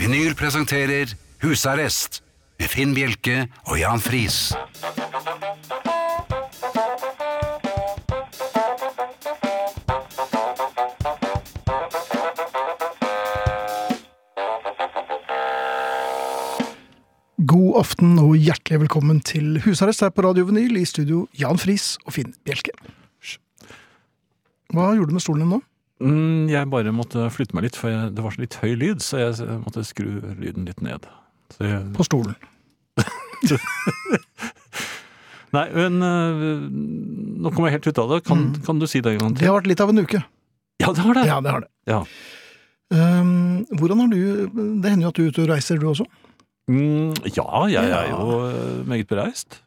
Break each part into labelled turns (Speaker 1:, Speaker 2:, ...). Speaker 1: Vinyl presenterer Husarrest med Finn Bjelke og Jan Friis.
Speaker 2: God aften og hjertelig velkommen til husarrest her på Radio Vinyl i studio Jan Friis og Finn Bjelke. Hva gjorde du med stolen din nå?
Speaker 3: Mm, jeg bare måtte flytte meg litt, for jeg, det var så litt høy lyd, så jeg s- måtte skru lyden litt ned. Så jeg,
Speaker 2: På stolen.
Speaker 3: nei, men øh, nå kom jeg helt ut av det. Kan, kan du si det en gang
Speaker 2: Det
Speaker 3: til?
Speaker 2: har vært litt av en uke.
Speaker 3: Ja, det har det!
Speaker 2: Mm. Ja, det har det.
Speaker 3: Ja.
Speaker 2: Ehm, hvordan har du Det hender jo at du er ute og reiser, du også?
Speaker 3: Mm, ja, jeg
Speaker 2: Ja.
Speaker 3: er jo øh, meget bereist.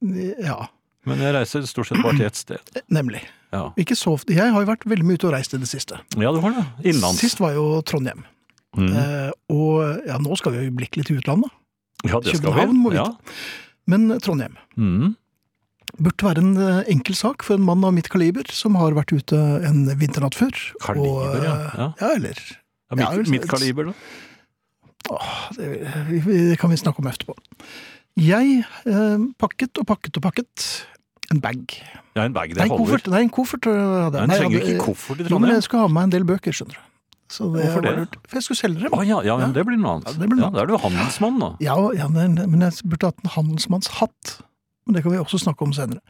Speaker 2: Ja,
Speaker 3: Men jeg reiser stort sett bare til ett sted.
Speaker 2: nemlig.
Speaker 3: Ja,
Speaker 2: Ikke så ofte. Jeg har jo vært veldig mye ute og reist i det siste.
Speaker 3: ja du har det. Innlands.
Speaker 2: Sist var jo Trondheim.
Speaker 3: Mm.
Speaker 2: Eh, og ja, nå skal vi øyeblikkelig til utlandet,
Speaker 3: Ja, det skal vi.
Speaker 2: København må vite.
Speaker 3: Ja.
Speaker 2: men Trondheim.
Speaker 3: Mm.
Speaker 2: burde være en eh, enkel sak for en mann av mitt kaliber som har vært ute en vinternatt før.
Speaker 3: Kaliber,
Speaker 2: eh,
Speaker 3: ja, ja.
Speaker 2: Ja, eller
Speaker 3: Ja,
Speaker 2: Ja, vel,
Speaker 3: mitt, mitt kaliber, da.
Speaker 2: åh, det, vi, vi, det kan vi snakke om etterpå. Jeg eh, pakket og pakket og pakket en bag.
Speaker 3: Ja, en bag,
Speaker 2: Nei,
Speaker 3: det
Speaker 2: en
Speaker 3: holder.
Speaker 2: koffert. Nei, en koffert eh, hadde jeg.
Speaker 3: Men
Speaker 2: Nei,
Speaker 3: trenger
Speaker 2: jeg
Speaker 3: jo
Speaker 2: hadde-
Speaker 3: ikke koffert i
Speaker 2: Jo, men
Speaker 3: Trondheim.
Speaker 2: jeg skulle ha med meg en del bøker, skjønner du. Så det var
Speaker 3: Hvorfor det?
Speaker 2: lurt. For jeg skulle selge
Speaker 3: Å
Speaker 2: dem.
Speaker 3: ja, ja, men
Speaker 2: Ja.
Speaker 3: det blir noe annet.
Speaker 2: Ja,
Speaker 3: Ja,
Speaker 2: det blir noe
Speaker 3: Da er du handelsmann, da.
Speaker 2: Ja, ja, men men jeg burde hatt en handelsmannshatt. Men det kan vi også snakke om senere.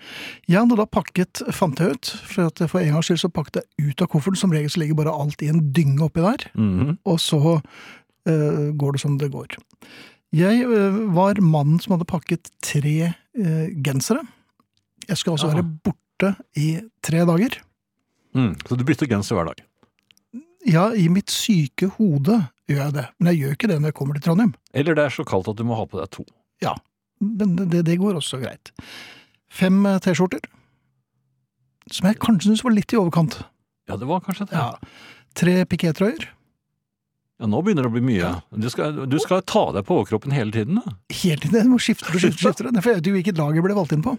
Speaker 2: Jeg hadde da pakket, fant jeg ut, for at for en gangs skyld så pakket jeg ut av kofferten. Som regel så ligger bare alt i en dynge oppi der,
Speaker 3: Mhm.
Speaker 2: og så eh, går det som det går. Jeg eh, var mannen som hadde pakket tre eh, gensere. Jeg skal altså
Speaker 3: Jaha.
Speaker 2: være borte i tre dager.
Speaker 3: Mm. Så du bytter genser hver dag.
Speaker 2: Ja, i mitt syke hode gjør jeg det, men jeg gjør ikke det når jeg kommer til Trondheim.
Speaker 3: Eller det er så kaldt at du må ha på deg to.
Speaker 2: Ja, men det, det går også greit. Fem eh, T-skjorter, som jeg kanskje syns var litt i overkant.
Speaker 3: Ja, det var kanskje det. Ja,
Speaker 2: Ja. Tre pikétrøyer,
Speaker 3: Nå begynner det å bli mye. Du skal, du skal ta deg på overkroppen hele tiden. da.
Speaker 2: helt i det, må skifte og skifte, skifte det, for jeg vet jo hvilket lag jeg ble valgt inn på.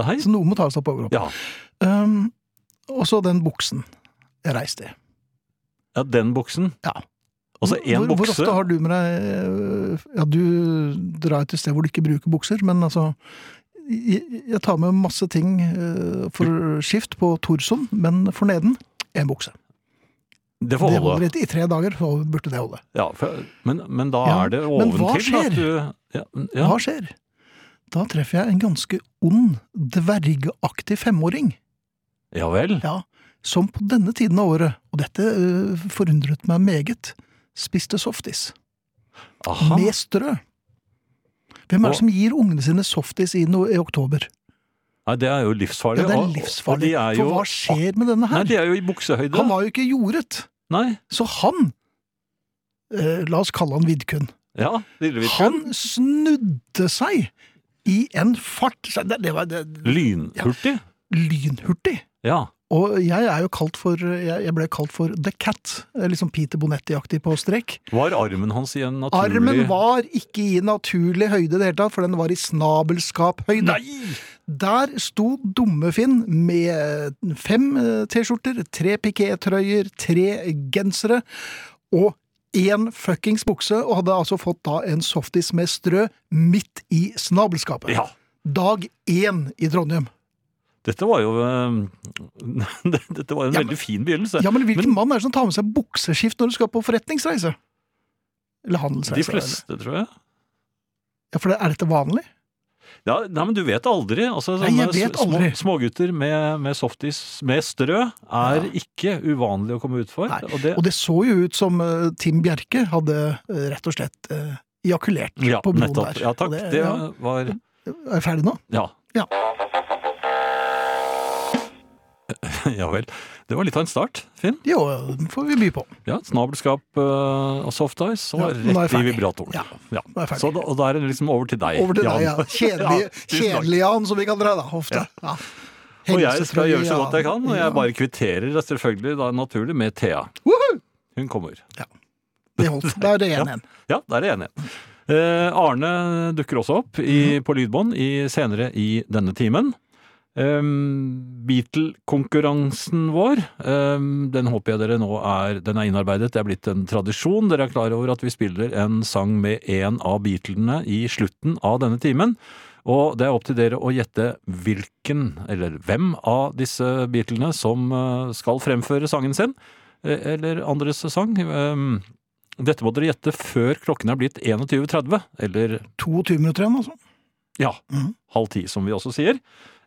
Speaker 3: Nei?
Speaker 2: Så noe må tas opp over opp.
Speaker 3: sånn. Ja.
Speaker 2: Um, og så den buksen jeg reiste i.
Speaker 3: ja, den buksen.
Speaker 2: Ja.
Speaker 3: Altså én
Speaker 2: hvor,
Speaker 3: bukse.
Speaker 2: Hvor ofte har du med deg eh, Ja, du drar til et sted hvor du ikke bruker bukser, men altså Jeg, jeg tar med masse ting eh, for skift på torsoen, men for neden én bukse.
Speaker 3: Det får
Speaker 2: Det
Speaker 3: holde.
Speaker 2: holder i i tre dager, så burde det holde.
Speaker 3: Ja, for, men, men da
Speaker 2: Ja,
Speaker 3: er det
Speaker 2: men hva
Speaker 3: oventil
Speaker 2: skjer?
Speaker 3: at du ja, ja.
Speaker 2: Hva skjer? Da treffer jeg en ganske ond, dvergeaktig femåring.
Speaker 3: ja vel.
Speaker 2: Ja, som på denne tiden av året, og dette øh, forundret meg meget, spiste softis.
Speaker 3: Aha.
Speaker 2: Med strø. Hvem er
Speaker 3: Og-
Speaker 2: det som gir ungene sine softis i, no i oktober?
Speaker 3: Nei, det er jo livsfarlig.
Speaker 2: Ja, det
Speaker 3: og-
Speaker 2: er
Speaker 3: og-
Speaker 2: livsfarlig.
Speaker 3: Og de er jo,
Speaker 2: For hva skjer med denne
Speaker 3: Nei,
Speaker 2: her?
Speaker 3: de er jo i buksehøyde.
Speaker 2: Han var jo ikke jordet.
Speaker 3: Nei.
Speaker 2: Så han, eh, la oss kalle han Vidkun,
Speaker 3: Ja, lille Vidkun.
Speaker 2: han snudde seg i en fart. Så Det, det var det,
Speaker 3: Lynhurtig.
Speaker 2: lynhurtig.
Speaker 3: Ja.
Speaker 2: Og jeg er jo kalt for, jeg jeg ble kalt for The Cat, eh, liksom Peter Bonetti-aktig på strek.
Speaker 3: Var armen hans i en naturlig
Speaker 2: Armen var ikke i naturlig høyde i det hele tatt, for den var i snabelskaphøyde.
Speaker 3: Nei!
Speaker 2: Der sto Dummefinn med fem eh, T-skjorter, tre pikétrøyer, tre gensere og én fuckings bukse, og hadde altså fått da en softis med strø midt i snabelskapet.
Speaker 3: Ja.
Speaker 2: Dag én i Trondheim.
Speaker 3: Dette var jo eh, Dette var en
Speaker 2: Ja, men-
Speaker 3: veldig fin begynnelse.
Speaker 2: Ja, men hvilken mann er det som tar med seg bukseskift når du skal på forretningsreise? Eller handelsreise?
Speaker 3: De fleste, tror jeg.
Speaker 2: eller? Ja, for det- Er dette vanlig?
Speaker 3: Ja, nei, men du vet aldri. Altså,
Speaker 2: Nei, jeg
Speaker 3: sånne
Speaker 2: vet
Speaker 3: små-
Speaker 2: aldri.
Speaker 3: Smågutter med, med softis med strø er ikke uvanlig å komme ut for.
Speaker 2: Nei,
Speaker 3: Og det,
Speaker 2: Og det så jo ut som eh, Tim Bjerke hadde eh, rett og slett eh, ejakulert
Speaker 3: ja,
Speaker 2: på broen
Speaker 3: nettopp.
Speaker 2: der.
Speaker 3: Ja
Speaker 2: Og
Speaker 3: takk. Det,
Speaker 2: ja.
Speaker 3: var
Speaker 2: Er jeg ferdig nå?
Speaker 3: Ja.
Speaker 2: Ja.
Speaker 3: Ja vel. Det var litt av en start, Finn.
Speaker 2: Jo, den får vi by på.
Speaker 3: Ja, Snabelskap eh, og soft ice, og
Speaker 2: Ja, nå er jeg
Speaker 3: rett i
Speaker 2: ferdig.
Speaker 3: vibratoren.
Speaker 2: Ja,
Speaker 3: Ja.
Speaker 2: nå er jeg ferdig.
Speaker 3: Så da, og da er det liksom over til deg.
Speaker 2: Over til deg, ja.
Speaker 3: Jan.
Speaker 2: Kjedelig,
Speaker 3: Ja, tusen takk.
Speaker 2: kjedelig Jan, som vi kan dra da, ofte. Ja.
Speaker 3: Og jeg skal
Speaker 2: Helsetrøye,
Speaker 3: gjøre så godt jeg kan, og
Speaker 2: ja.
Speaker 3: jeg bare kvitterer selvfølgelig da naturlig med Thea.
Speaker 2: Woohoo!
Speaker 3: Hun kommer.
Speaker 2: Det holdt. Da er det
Speaker 3: Ja.
Speaker 2: 1-1.
Speaker 3: Ja, der er jeg enig. Eh, Arne dukker også opp i, på lydbånd i, senere i denne timen. Ehm, Beatle-konkurransen vår, ehm, den håper jeg dere nå er, den er innarbeidet. Det er blitt en tradisjon. Dere er klar over at vi spiller en sang med en av Beatlene i slutten av denne timen. Og det er opp til dere å gjette hvilken, eller hvem av disse Beatlene som eh, skal fremføre sangen sin, eh, eller andres sang. Ehm, Dette må dere gjette før klokken er blitt 21.30, eller
Speaker 2: 22 minutter igjen, altså.
Speaker 3: ja,
Speaker 2: Mhm.
Speaker 3: halv ti, som vi også sier.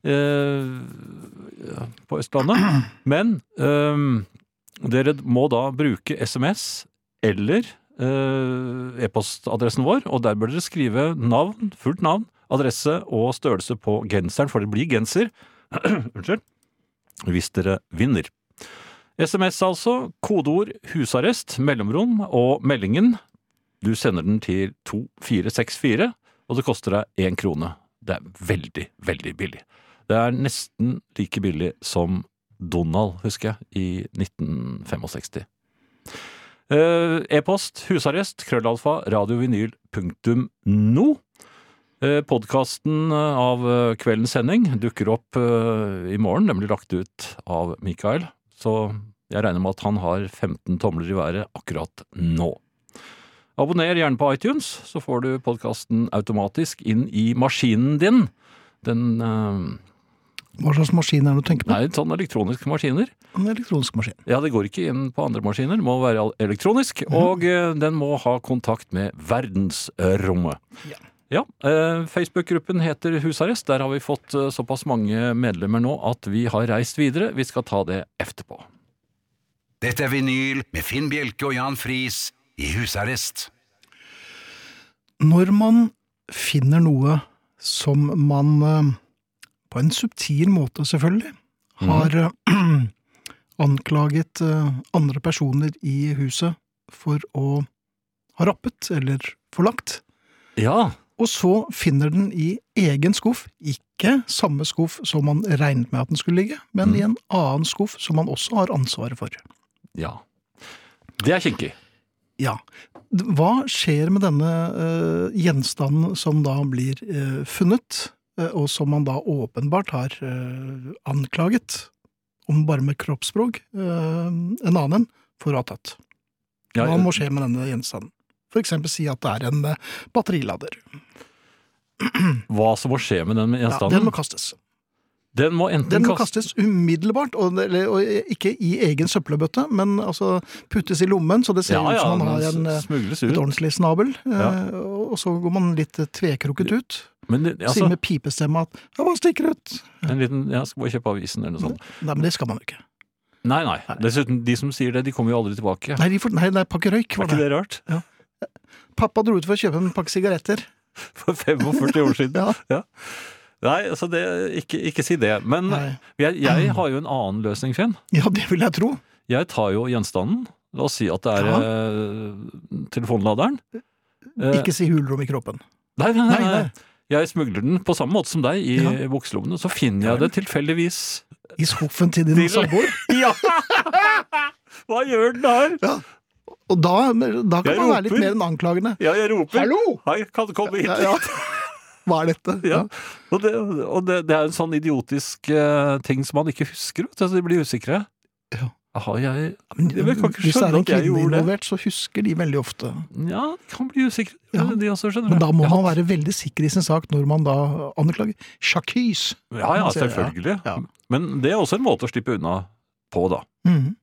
Speaker 3: Eh, på Østlandet. Men ehm, dere må da bruke SMS eller eh, e-postadressen vår, og der bør dere skrive navn, fullt navn, adresse og størrelse på genseren, for det blir genser. Unnskyld. Hvis dere vinner. SMS altså, kodeord 'husarrest', mellomrom og meldingen. Du sender den til 2464 og det koster deg én krone. Det er veldig, veldig billig. Det er nesten like billig som Donald, husker jeg, i 1965. Eh, E-post husarrest krøllalfa radiovinyl.no. Eh, Podkasten av eh, kveldens sending dukker opp eh, i morgen. Den blir lagt ut av Mikael. Så jeg regner med at han har 15 tomler i været akkurat nå. Abonner gjerne på iTunes, så får du podkasten automatisk inn i maskinen din. Den eh,
Speaker 2: Hva slags maskin er det du tenker på?
Speaker 3: Nei, sånn elektroniske maskiner.
Speaker 2: En elektronisk maskin.
Speaker 3: Ja, det går ikke inn på andre maskiner. Det må være al- elektronisk.
Speaker 2: Mhm.
Speaker 3: Og eh, den må ha kontakt med verdensrommet.
Speaker 2: Ja.
Speaker 3: Ja, eh, Facebook-gruppen heter Husarrest. Der har vi fått eh, såpass mange medlemmer nå at vi har reist videre. Vi skal ta det etterpå.
Speaker 1: Dette er vinyl med Finn Bjelke og Jan Friis i husarrest.
Speaker 2: Når man finner noe som man, eh, på en subtil måte selvfølgelig,
Speaker 3: Mhm. Mm.
Speaker 2: har eh, anklaget eh, andre personer i huset for å ha rappet eller forlagt,
Speaker 3: Ja,
Speaker 2: og så finner den i egen skuff, ikke samme skuff som man regnet med at den skulle ligge, men
Speaker 3: Mm.
Speaker 2: i en annen skuff som man også har ansvaret for.
Speaker 3: ja. Det er kinkig.
Speaker 2: Ja. Hva skjer med denne eh, gjenstanden som da blir eh, funnet, eh, og som man da åpenbart har eh, anklaget, om bare med kroppsspråk, eh, en annen for å ha tatt?
Speaker 3: Ja,
Speaker 2: Hva må skje med denne gjenstanden? For eksempel si at det er en eh, batterilader.
Speaker 3: hva som må skje med den
Speaker 2: Ja,
Speaker 3: gjenstanden?
Speaker 2: den må kastes.
Speaker 3: Den må enten
Speaker 2: Den må
Speaker 3: kastes
Speaker 2: kastes umiddelbart, og, eller, og ikke i egen søppelbøtte, men altså puttes i lommen, så det ser ut som man har
Speaker 3: den
Speaker 2: en eh,
Speaker 3: smugles
Speaker 2: et
Speaker 3: ut.
Speaker 2: ordentlig snabel, eh,
Speaker 3: Ja.
Speaker 2: og og så går man litt eh, tvekroket ut.
Speaker 3: Men det-
Speaker 2: sier
Speaker 3: altså,
Speaker 2: med pipestemme at 'ja, man stikker ut'.
Speaker 3: en liten, jeg skal bare kjøpe avisen eller noe sånt.
Speaker 2: Nei, men det skal man jo ikke.
Speaker 3: Nei, nei. Dessuten, de som sier det, de kommer jo aldri tilbake.
Speaker 2: Mm. Nei, de får, nei, nei pakke røyk
Speaker 3: Er
Speaker 2: var
Speaker 3: ikke
Speaker 2: det.
Speaker 3: det rart?
Speaker 2: Pappa dro ut for å kjøpe en pakke sigaretter.
Speaker 3: For 45 år siden.
Speaker 2: Ja.
Speaker 3: Nei, altså det, ikke, ikke si det. Men
Speaker 2: Nei.
Speaker 3: jeg, jeg har jo en annen løsning, Finn.
Speaker 2: ja, det vil jeg tro.
Speaker 3: Jeg tar jo gjenstanden. La oss si at det er
Speaker 2: Ja.
Speaker 3: eh, telefonladeren. Eh,
Speaker 2: Ikke si hulrom i kroppen.
Speaker 3: nei, nei, nei,
Speaker 2: Nei,
Speaker 3: nei.
Speaker 2: nei.
Speaker 3: Jeg smugler den på samme måte som deg i
Speaker 2: Ja.
Speaker 3: bukselommene. Så finner
Speaker 2: Ja
Speaker 3: jeg det tilfeldigvis
Speaker 2: I skuffen til din
Speaker 3: Til-
Speaker 2: samboer.
Speaker 3: Ja! Hva gjør den her?
Speaker 2: Og da, da kan
Speaker 3: Jeg
Speaker 2: man være litt
Speaker 3: roper.
Speaker 2: mer enn anklagende.
Speaker 3: Ja, jeg roper.
Speaker 2: Hallo!
Speaker 3: Hei, kan du komme hit?
Speaker 2: Ja, ja. Hva er dette?
Speaker 3: Ja. Og, det, og det, det er en sånn idiotisk eh, ting som man ikke husker. Vet du. Altså, de blir usikre.
Speaker 2: Ja.
Speaker 3: Har jeg
Speaker 2: Men,
Speaker 3: Jeg kan ikke
Speaker 2: hvis det er
Speaker 3: skjønne
Speaker 2: en
Speaker 3: at jeg
Speaker 2: kvinne
Speaker 3: gjorde det.
Speaker 2: involvert, så husker de veldig ofte.
Speaker 3: Ja, de kan bli usikre,
Speaker 2: Ja.
Speaker 3: de også, skjønner
Speaker 2: Men da må
Speaker 3: ja.
Speaker 2: man være veldig sikker i sin sak når man da anklager. Sjakkys!
Speaker 3: Ja, ja,
Speaker 2: Man ser-
Speaker 3: selvfølgelig.
Speaker 2: ja.
Speaker 3: Men det er også en måte å slippe unna på, da.
Speaker 2: Mhm.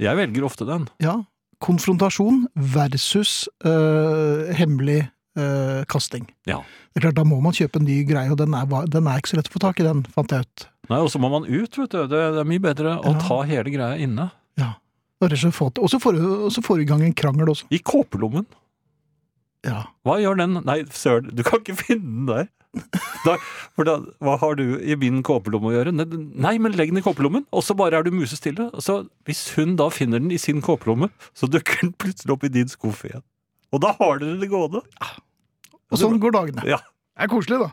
Speaker 3: Jeg velger ofte den.
Speaker 2: Ja, konfrontasjon versus øh, hemmelig øh, kasting.
Speaker 3: Ja.
Speaker 2: Det er klart, Da må man kjøpe en ny greie, og den er, va- den er ikke så lett å få tak i, den, fant jeg ut.
Speaker 3: Nei, Og så må man ut, vet du. Det, det er mye bedre å
Speaker 2: Ja.
Speaker 3: ta hele greia inne.
Speaker 2: Ja. Og rett og slett få til- og så får du og så får du i gang en krangel også.
Speaker 3: I kåpelommen.
Speaker 2: Ja.
Speaker 3: Hva gjør den Nei, søren, du kan ikke finne den der. Da, for da, hva har du i min kåpelomme å gjøre? Nei, den- Nei, men legg den i kåpelommen, og så bare er du musestille. Og Så hvis hun da finner den i sin kåpelomme, så dukker den plutselig opp i din skuff igjen. Og da har dere det gående.
Speaker 2: Og sånn går dagene.
Speaker 3: Ja.
Speaker 2: Det er koselig, da.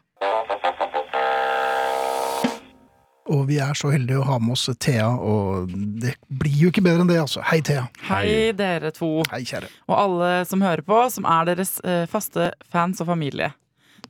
Speaker 2: Og vi er så heldige å ha med oss Thea, og det blir jo ikke bedre enn det, altså. Hei, Thea.
Speaker 3: Hei.
Speaker 4: Hei, dere to,
Speaker 2: Hei, kjære.
Speaker 4: og alle som hører på, som er deres eh, faste fans og familie.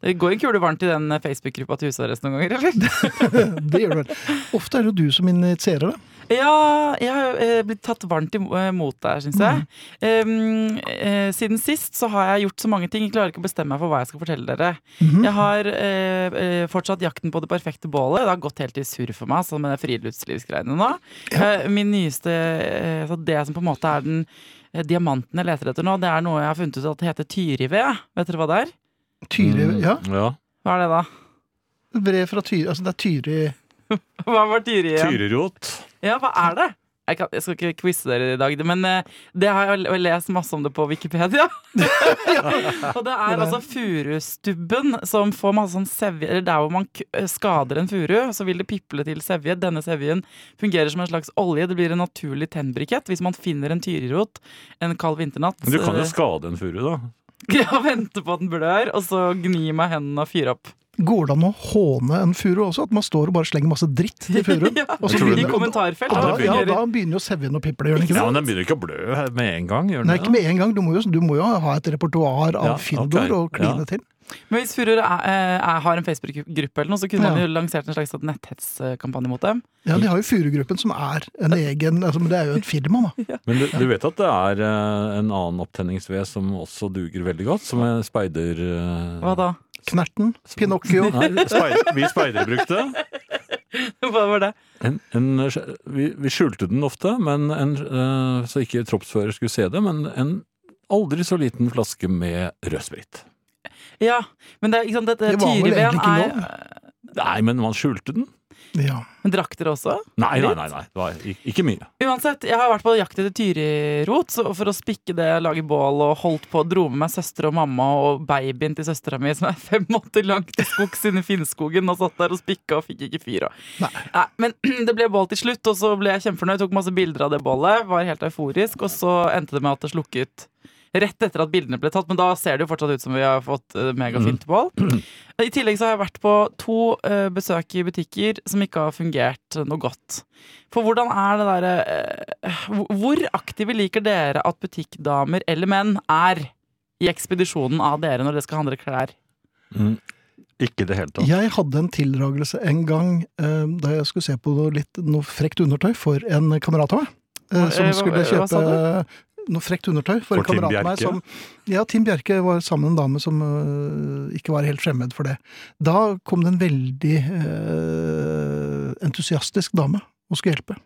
Speaker 4: Det går jo kule varmt i den eh, Facebook-gruppa til husarrest noen ganger, eller?
Speaker 2: Det gjør det vel. Ofte er det jo du som initierer det.
Speaker 4: Ja, jeg har eh, blitt tatt varmt imot der, syns jeg. Em, eh, siden sist så har jeg gjort så mange ting. Jeg klarer ikke å bestemme meg for hva jeg skal fortelle dere.
Speaker 2: Mhm.
Speaker 4: Jeg har eh, eh, fortsatt jakten på det perfekte bålet. Det har gått helt i surr for meg, sånn med det friluftslivsgreiene nå. Eh, min nyeste eh, så Det som på en måte er den eh, diamanten jeg leter etter nå, det er noe jeg har funnet ut at heter tyrived. Vet dere hva det er?
Speaker 2: Tyri,
Speaker 3: Mm,
Speaker 2: ja.
Speaker 3: ja.
Speaker 4: Hva er det da?
Speaker 2: Brev fra Tyri, altså det er Tyri
Speaker 4: Hva var tyri igjen?
Speaker 3: Tyrerot.
Speaker 4: Ja, hva er det? Jeg, kan, jeg skal ikke quize dere i dag, men eh, det har jeg l- lest masse om det på Wikipedia. og det er altså furustubben som får masse sånn sevje Eller der hvor man k- eh, skader en furu, så vil det piple til sevje. Denne sevjen fungerer som en slags olje. Det blir en naturlig tennbrikett hvis man finner en tyrirot en kald vinternatt.
Speaker 3: Men Du kan jo
Speaker 4: eh,
Speaker 3: skade en furu, da.
Speaker 4: ja, vente på at den blør, og så gni meg hendene og fyre opp.
Speaker 2: Går det an å håne en furu også? At man står og bare slenger masse dritt til furuen?
Speaker 4: ja,
Speaker 2: Og så
Speaker 3: tror det-
Speaker 4: I
Speaker 2: begynner-
Speaker 4: kommentarfelt.
Speaker 2: Og da,
Speaker 4: da
Speaker 2: ja,
Speaker 4: fungerer-
Speaker 2: da begynner jo sevjen å piple, gjør den ikke
Speaker 3: Ja,
Speaker 2: det?
Speaker 3: men den begynner ikke å blø med en gang. gjør den
Speaker 2: Nei,
Speaker 3: det?
Speaker 2: ikke med en gang. Du må jo, du må jo ha et repertoar av
Speaker 3: Ja,
Speaker 2: fyndord
Speaker 3: ok.
Speaker 2: å kline til.
Speaker 4: Men hvis Furur er, eh, er, har en Facebook-gruppe, eller noe, så kunne man
Speaker 2: Ja.
Speaker 4: jo lansert en slags sånn netthetskampanje mot dem.
Speaker 2: Ja, De har jo Furugruppen, som er en egen altså, men Det er jo et firma, da.
Speaker 3: Men du, du vet at det er eh, en annen opptenningsved som også duger veldig godt, som er speider... eh,
Speaker 4: Hva da?
Speaker 2: Knerten, Pinocchio
Speaker 3: Nei, speider, vi speidere brukte.
Speaker 4: Hva var det?
Speaker 3: En, en, vi, vi skjulte den ofte, men en, eh, så ikke troppsfører skulle se det, men en aldri så liten flaske med rødsprit.
Speaker 4: Ja, men det, er- ikke sant, dette
Speaker 2: Det var vel
Speaker 4: tyriveden
Speaker 2: egentlig
Speaker 4: er
Speaker 2: ikke
Speaker 3: Nei, men man skjulte den?
Speaker 2: Ja.
Speaker 4: Men drakk dere også?
Speaker 3: Nei, nei, nei, nei. det var ik- ikke mye.
Speaker 4: Uansett, jeg har vært på jakt etter tyrirot så for å spikke det, lage bål og holdt på å dro med meg søster og mamma og babyen til søstera mi som er fem måneder langt til skogs inne i Finnskogen og satt der og spikka og fikk ikke fyr. Og.
Speaker 2: Nei.
Speaker 4: men det ble bål til slutt, og så ble jeg kjempefornøyd. Tok masse bilder av det bålet, var helt euforisk, og så endte det med at det slukket. Rett etter at bildene ble tatt, men da ser det jo fortsatt ut som vi har fått eh, megafint bål. I tillegg så har jeg vært på to eh, besøk i butikker som ikke har fungert noe godt. For hvordan er det derre eh, hvor- Hvor aktive liker dere at butikkdamer eller menn er i ekspedisjonen av dere når dere skal handle klær?
Speaker 3: Ikke i det hele tatt.
Speaker 2: Jeg hadde en tildragelse en gang eh, da jeg skulle se på noe, litt, noe frekt undertøy for en kamerat av meg. eh, som
Speaker 4: Eh, hva-
Speaker 2: skulle
Speaker 4: hva
Speaker 2: kjøpe
Speaker 4: sa
Speaker 2: noe frekt undertøy for,
Speaker 3: For
Speaker 2: en kamerat
Speaker 3: Tim
Speaker 2: av meg.
Speaker 3: Bjerke?
Speaker 2: Som, ja, Tim Bjerke var sammen med en dame som eh, ikke var helt fremmed for det. Da kom det en veldig eh, entusiastisk dame og skulle hjelpe.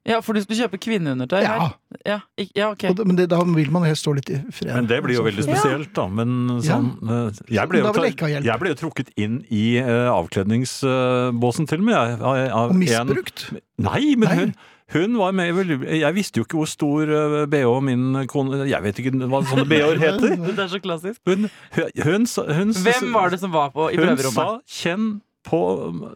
Speaker 4: Ja, for du skulle kjøpe kvinneundertøy her?
Speaker 2: Ja,
Speaker 4: Ja, ik- ja ok.
Speaker 2: og det, men det, da vil man helst stå litt i fred.
Speaker 3: Men det blir jo
Speaker 2: Altså,
Speaker 3: veldig
Speaker 2: for-
Speaker 3: spesielt, da. Men
Speaker 2: Ja.
Speaker 3: sånn eh, Jeg ble
Speaker 2: Da
Speaker 3: jo,
Speaker 2: vil jeg
Speaker 3: tar-
Speaker 2: ikke ha hjelp.
Speaker 3: jeg ble jo trukket inn i eh, avkledningsbåsen til og med, jeg. Av, av
Speaker 2: Og
Speaker 3: en-
Speaker 2: misbrukt.
Speaker 3: Nei, men
Speaker 2: Nei.
Speaker 3: Hun, hun var med i veldig- Jeg visste jo ikke hvor stor eh, BH min kone Jeg vet ikke hva sånne BH-er heter.
Speaker 4: Det er så klassisk.
Speaker 3: Hun, hun, hun, sa- hun,
Speaker 4: Hvem var det som var på i
Speaker 3: hun
Speaker 4: prøverommet?
Speaker 3: sa 'kjenn på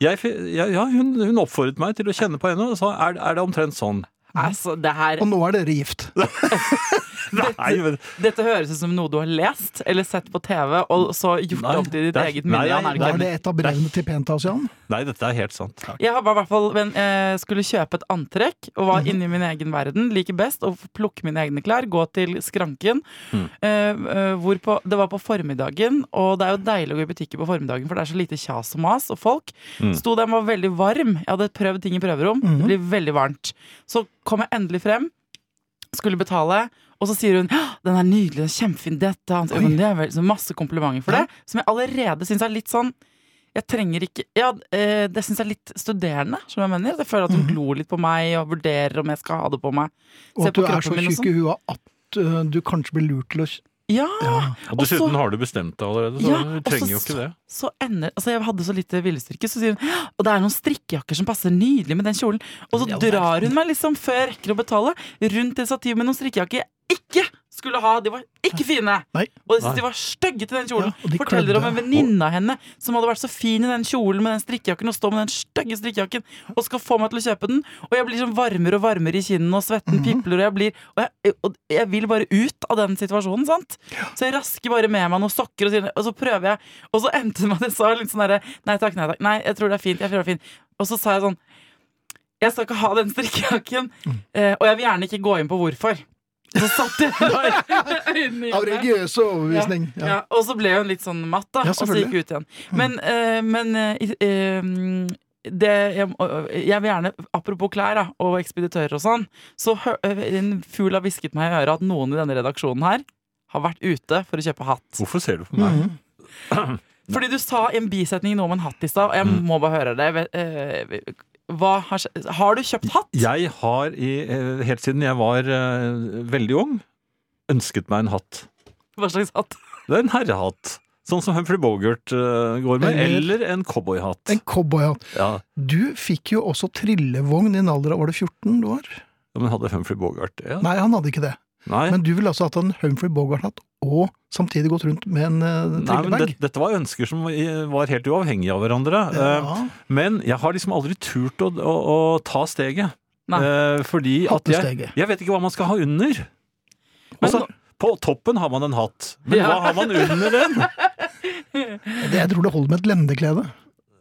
Speaker 3: jeg, fi- ja, ja, hun, hun oppfordret meg til å kjenne på henne og sa er, er det omtrent sånn?
Speaker 4: Altså, det her
Speaker 2: Og nå er dere gift.
Speaker 3: Nei, men,
Speaker 4: Dette høres ut som noe du har lest eller sett på TV, og så gjort
Speaker 3: Nei,
Speaker 4: om til ditt
Speaker 3: det er-
Speaker 4: eget
Speaker 3: nei,
Speaker 4: minne. av
Speaker 3: nei,
Speaker 2: Da
Speaker 4: nærkledd.
Speaker 2: er det et av brevene til Penthouse, Jan.
Speaker 3: nei, dette er helt sant.
Speaker 4: Jeg har bare i hvert fall men, eh, skulle kjøpe et antrekk og var inne i min egen verden. Liker best å plukke mine egne klær, gå til skranken. Eh, eh, hvorpå, det var på formiddagen, og det er jo deilig å gå i butikker på formiddagen, for det er så lite kjas og mas og folk. Sto der, den var veldig varm. Jeg hadde prøvd ting i prøverom. Det blir veldig varmt. Så kom jeg endelig frem, skulle betale. Og så sier hun «Hå, 'den er nydelig, den er kjempefin', dette antrekket». Men Det er vel, så masse komplimenter for det, som jeg allerede syns er litt sånn jeg trenger ikke ja, eh, Det syns jeg er litt studerende. Som jeg mener Jeg føler at hun glor litt på meg og vurderer om jeg skal ha det på meg.
Speaker 2: Mhm. Og
Speaker 4: Se
Speaker 2: at du
Speaker 4: på
Speaker 2: er
Speaker 4: kroppen
Speaker 2: så
Speaker 4: min og sånn.
Speaker 2: tjukk i huet at øh, du kanskje blir lurt til å
Speaker 4: Ja!
Speaker 3: Og
Speaker 4: Og så-
Speaker 3: dessuten har du bestemt deg allerede, så
Speaker 4: Ja,
Speaker 3: du
Speaker 4: og så-
Speaker 3: trenger jo ikke det.
Speaker 4: Så ender, altså jeg hadde så lite viljestyrke, så sier hun «Hå, Og det er noen strikkejakker som passer nydelig med den kjolen. Og så
Speaker 2: Ja, det er-
Speaker 4: drar hun meg, liksom, før jeg rekker å betale, rundt et stativ med noen strikkejakker jeg ikke skulle ha. De var ikke fine!
Speaker 2: Nei.
Speaker 4: Og jeg synes
Speaker 3: Nei.
Speaker 4: de var stygge til den kjolen.
Speaker 2: Ja, og de
Speaker 4: Forteller om
Speaker 2: klødde.
Speaker 4: en venninne av henne som hadde vært så fin i den kjolen med den strikkejakken og står med den stygge strikkejakken og skal få meg til å kjøpe den. Og jeg blir sånn varmere og varmere i kinnene, og
Speaker 2: Mhm.
Speaker 4: svetten pipler, og jeg blir og jeg, og jeg vil bare ut av den situasjonen, sant? Så jeg rasker bare med meg noen sokker, og, sier- og så prøver jeg. Og så endte det med at jeg sa litt sånn derre Nei takk, nei takk. Nei, jeg tror det er fint. Jeg tror det er fint. Og så sa jeg
Speaker 2: Mm.
Speaker 4: sånn Jeg skal ikke ha den strikkejakken, eh, og jeg vil gjerne ikke gå inn på hvorfor. Så satt jeg der øynene i
Speaker 2: Av
Speaker 4: hjørnet.
Speaker 2: religiøs overbevisning.
Speaker 4: Ja.
Speaker 2: Ja.
Speaker 4: og så ble hun litt sånn matt, da.
Speaker 2: Ja,
Speaker 4: og så gikk hun ut igjen. Men, eh, men eh, i- eh, det, jeg, må- jeg vil gjerne, apropos klær da, og ekspeditører og sånn, så hø- en fugl har hvisket meg i øret at noen i denne redaksjonen her har vært ute for å kjøpe hatt.
Speaker 3: Hvorfor ser du
Speaker 2: Mm.
Speaker 3: på meg?
Speaker 4: Mhm. Fordi du sa i en bisetning noe om en hatt i stad, og jeg må bare høre det. Vet- eh, Hva har, skje- har du kjøpt hatt?
Speaker 3: Jeg har i, eh, helt siden jeg var eh, veldig ung, ønsket meg en hatt.
Speaker 4: Hva slags hatt?
Speaker 3: Det er en herrehatt. Sånn som Humphrey Bogart eh, går med.
Speaker 2: Eller-
Speaker 3: Eller en cowboyhatt.
Speaker 2: En cowboyhatt.
Speaker 3: Ja,
Speaker 2: Du fikk jo også trillevogn i en alder av var det 14 du var?
Speaker 3: men hadde Humphrey Bogart det?
Speaker 2: Nei, han hadde ikke det.
Speaker 3: Nei.
Speaker 2: Men du ville altså hatt en Humphrey Bogart-hatt og samtidig gått rundt med en uh,
Speaker 3: Nei, men
Speaker 2: trillebag?
Speaker 3: det, dette var ønsker som i- var helt uavhengige av hverandre. Eh,
Speaker 2: Ja.
Speaker 3: Men jeg har liksom aldri turt å, å, å ta steget.
Speaker 4: Nei.
Speaker 3: Eh, Fordi at jeg,
Speaker 2: Hattesteget.
Speaker 3: jeg vet ikke hva man skal ha under. Altså, på toppen har man en hatt, men
Speaker 4: Ja.
Speaker 3: hva har man under den?
Speaker 2: Det- Jeg tror det holder med et lendeklede.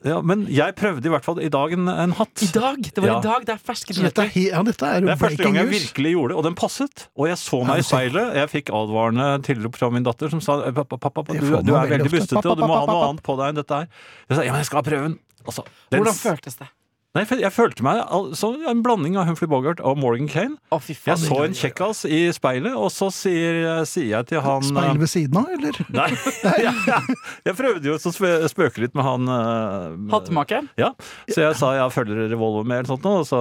Speaker 3: Ja, men jeg prøvde i hvert fall i dag en, en hatt.
Speaker 4: I dag! Det var
Speaker 3: Ja.
Speaker 4: i dag. Det er ferske
Speaker 2: Så dette
Speaker 4: nyheter.
Speaker 2: er, he- ja, dette er
Speaker 3: Det
Speaker 2: jo
Speaker 3: er første
Speaker 2: breaking
Speaker 3: gang jeg
Speaker 2: news.
Speaker 3: virkelig gjorde det, og den passet. Og jeg så
Speaker 2: Ja,
Speaker 3: meg
Speaker 2: du
Speaker 3: i
Speaker 2: ser.
Speaker 3: speilet. Jeg fikk advarende tilrop fra min datter som sa "Eh, pappa, pappa, pappa
Speaker 2: Det
Speaker 3: du,
Speaker 2: får man
Speaker 3: du er
Speaker 2: veldig
Speaker 3: veldig
Speaker 2: ofte.
Speaker 3: bustete, og du må
Speaker 2: Pappa,
Speaker 3: ha
Speaker 2: pappa,
Speaker 3: noe
Speaker 2: pappa.
Speaker 3: annet på deg enn dette her. Jeg sa ja, men jeg skal ha prøven. Altså, den
Speaker 4: Hvordan
Speaker 3: s-
Speaker 4: føltes det?
Speaker 3: Nei, for jeg følte meg al- som en blanding av Humphrey Bogart og Morgan Kane.
Speaker 4: Å, fy
Speaker 3: Jeg
Speaker 4: faen.
Speaker 3: så en kjekkas i speilet, og så sier, sier jeg til han eh,
Speaker 2: Speil ved siden av, eller?
Speaker 3: Nei, øh, ja, ja. jeg prøvde jo å spe- spøke litt med han eh,
Speaker 4: Hattemakeren?
Speaker 3: Ja, så jeg sa jeg følger revolver med, eller sånt noe, og så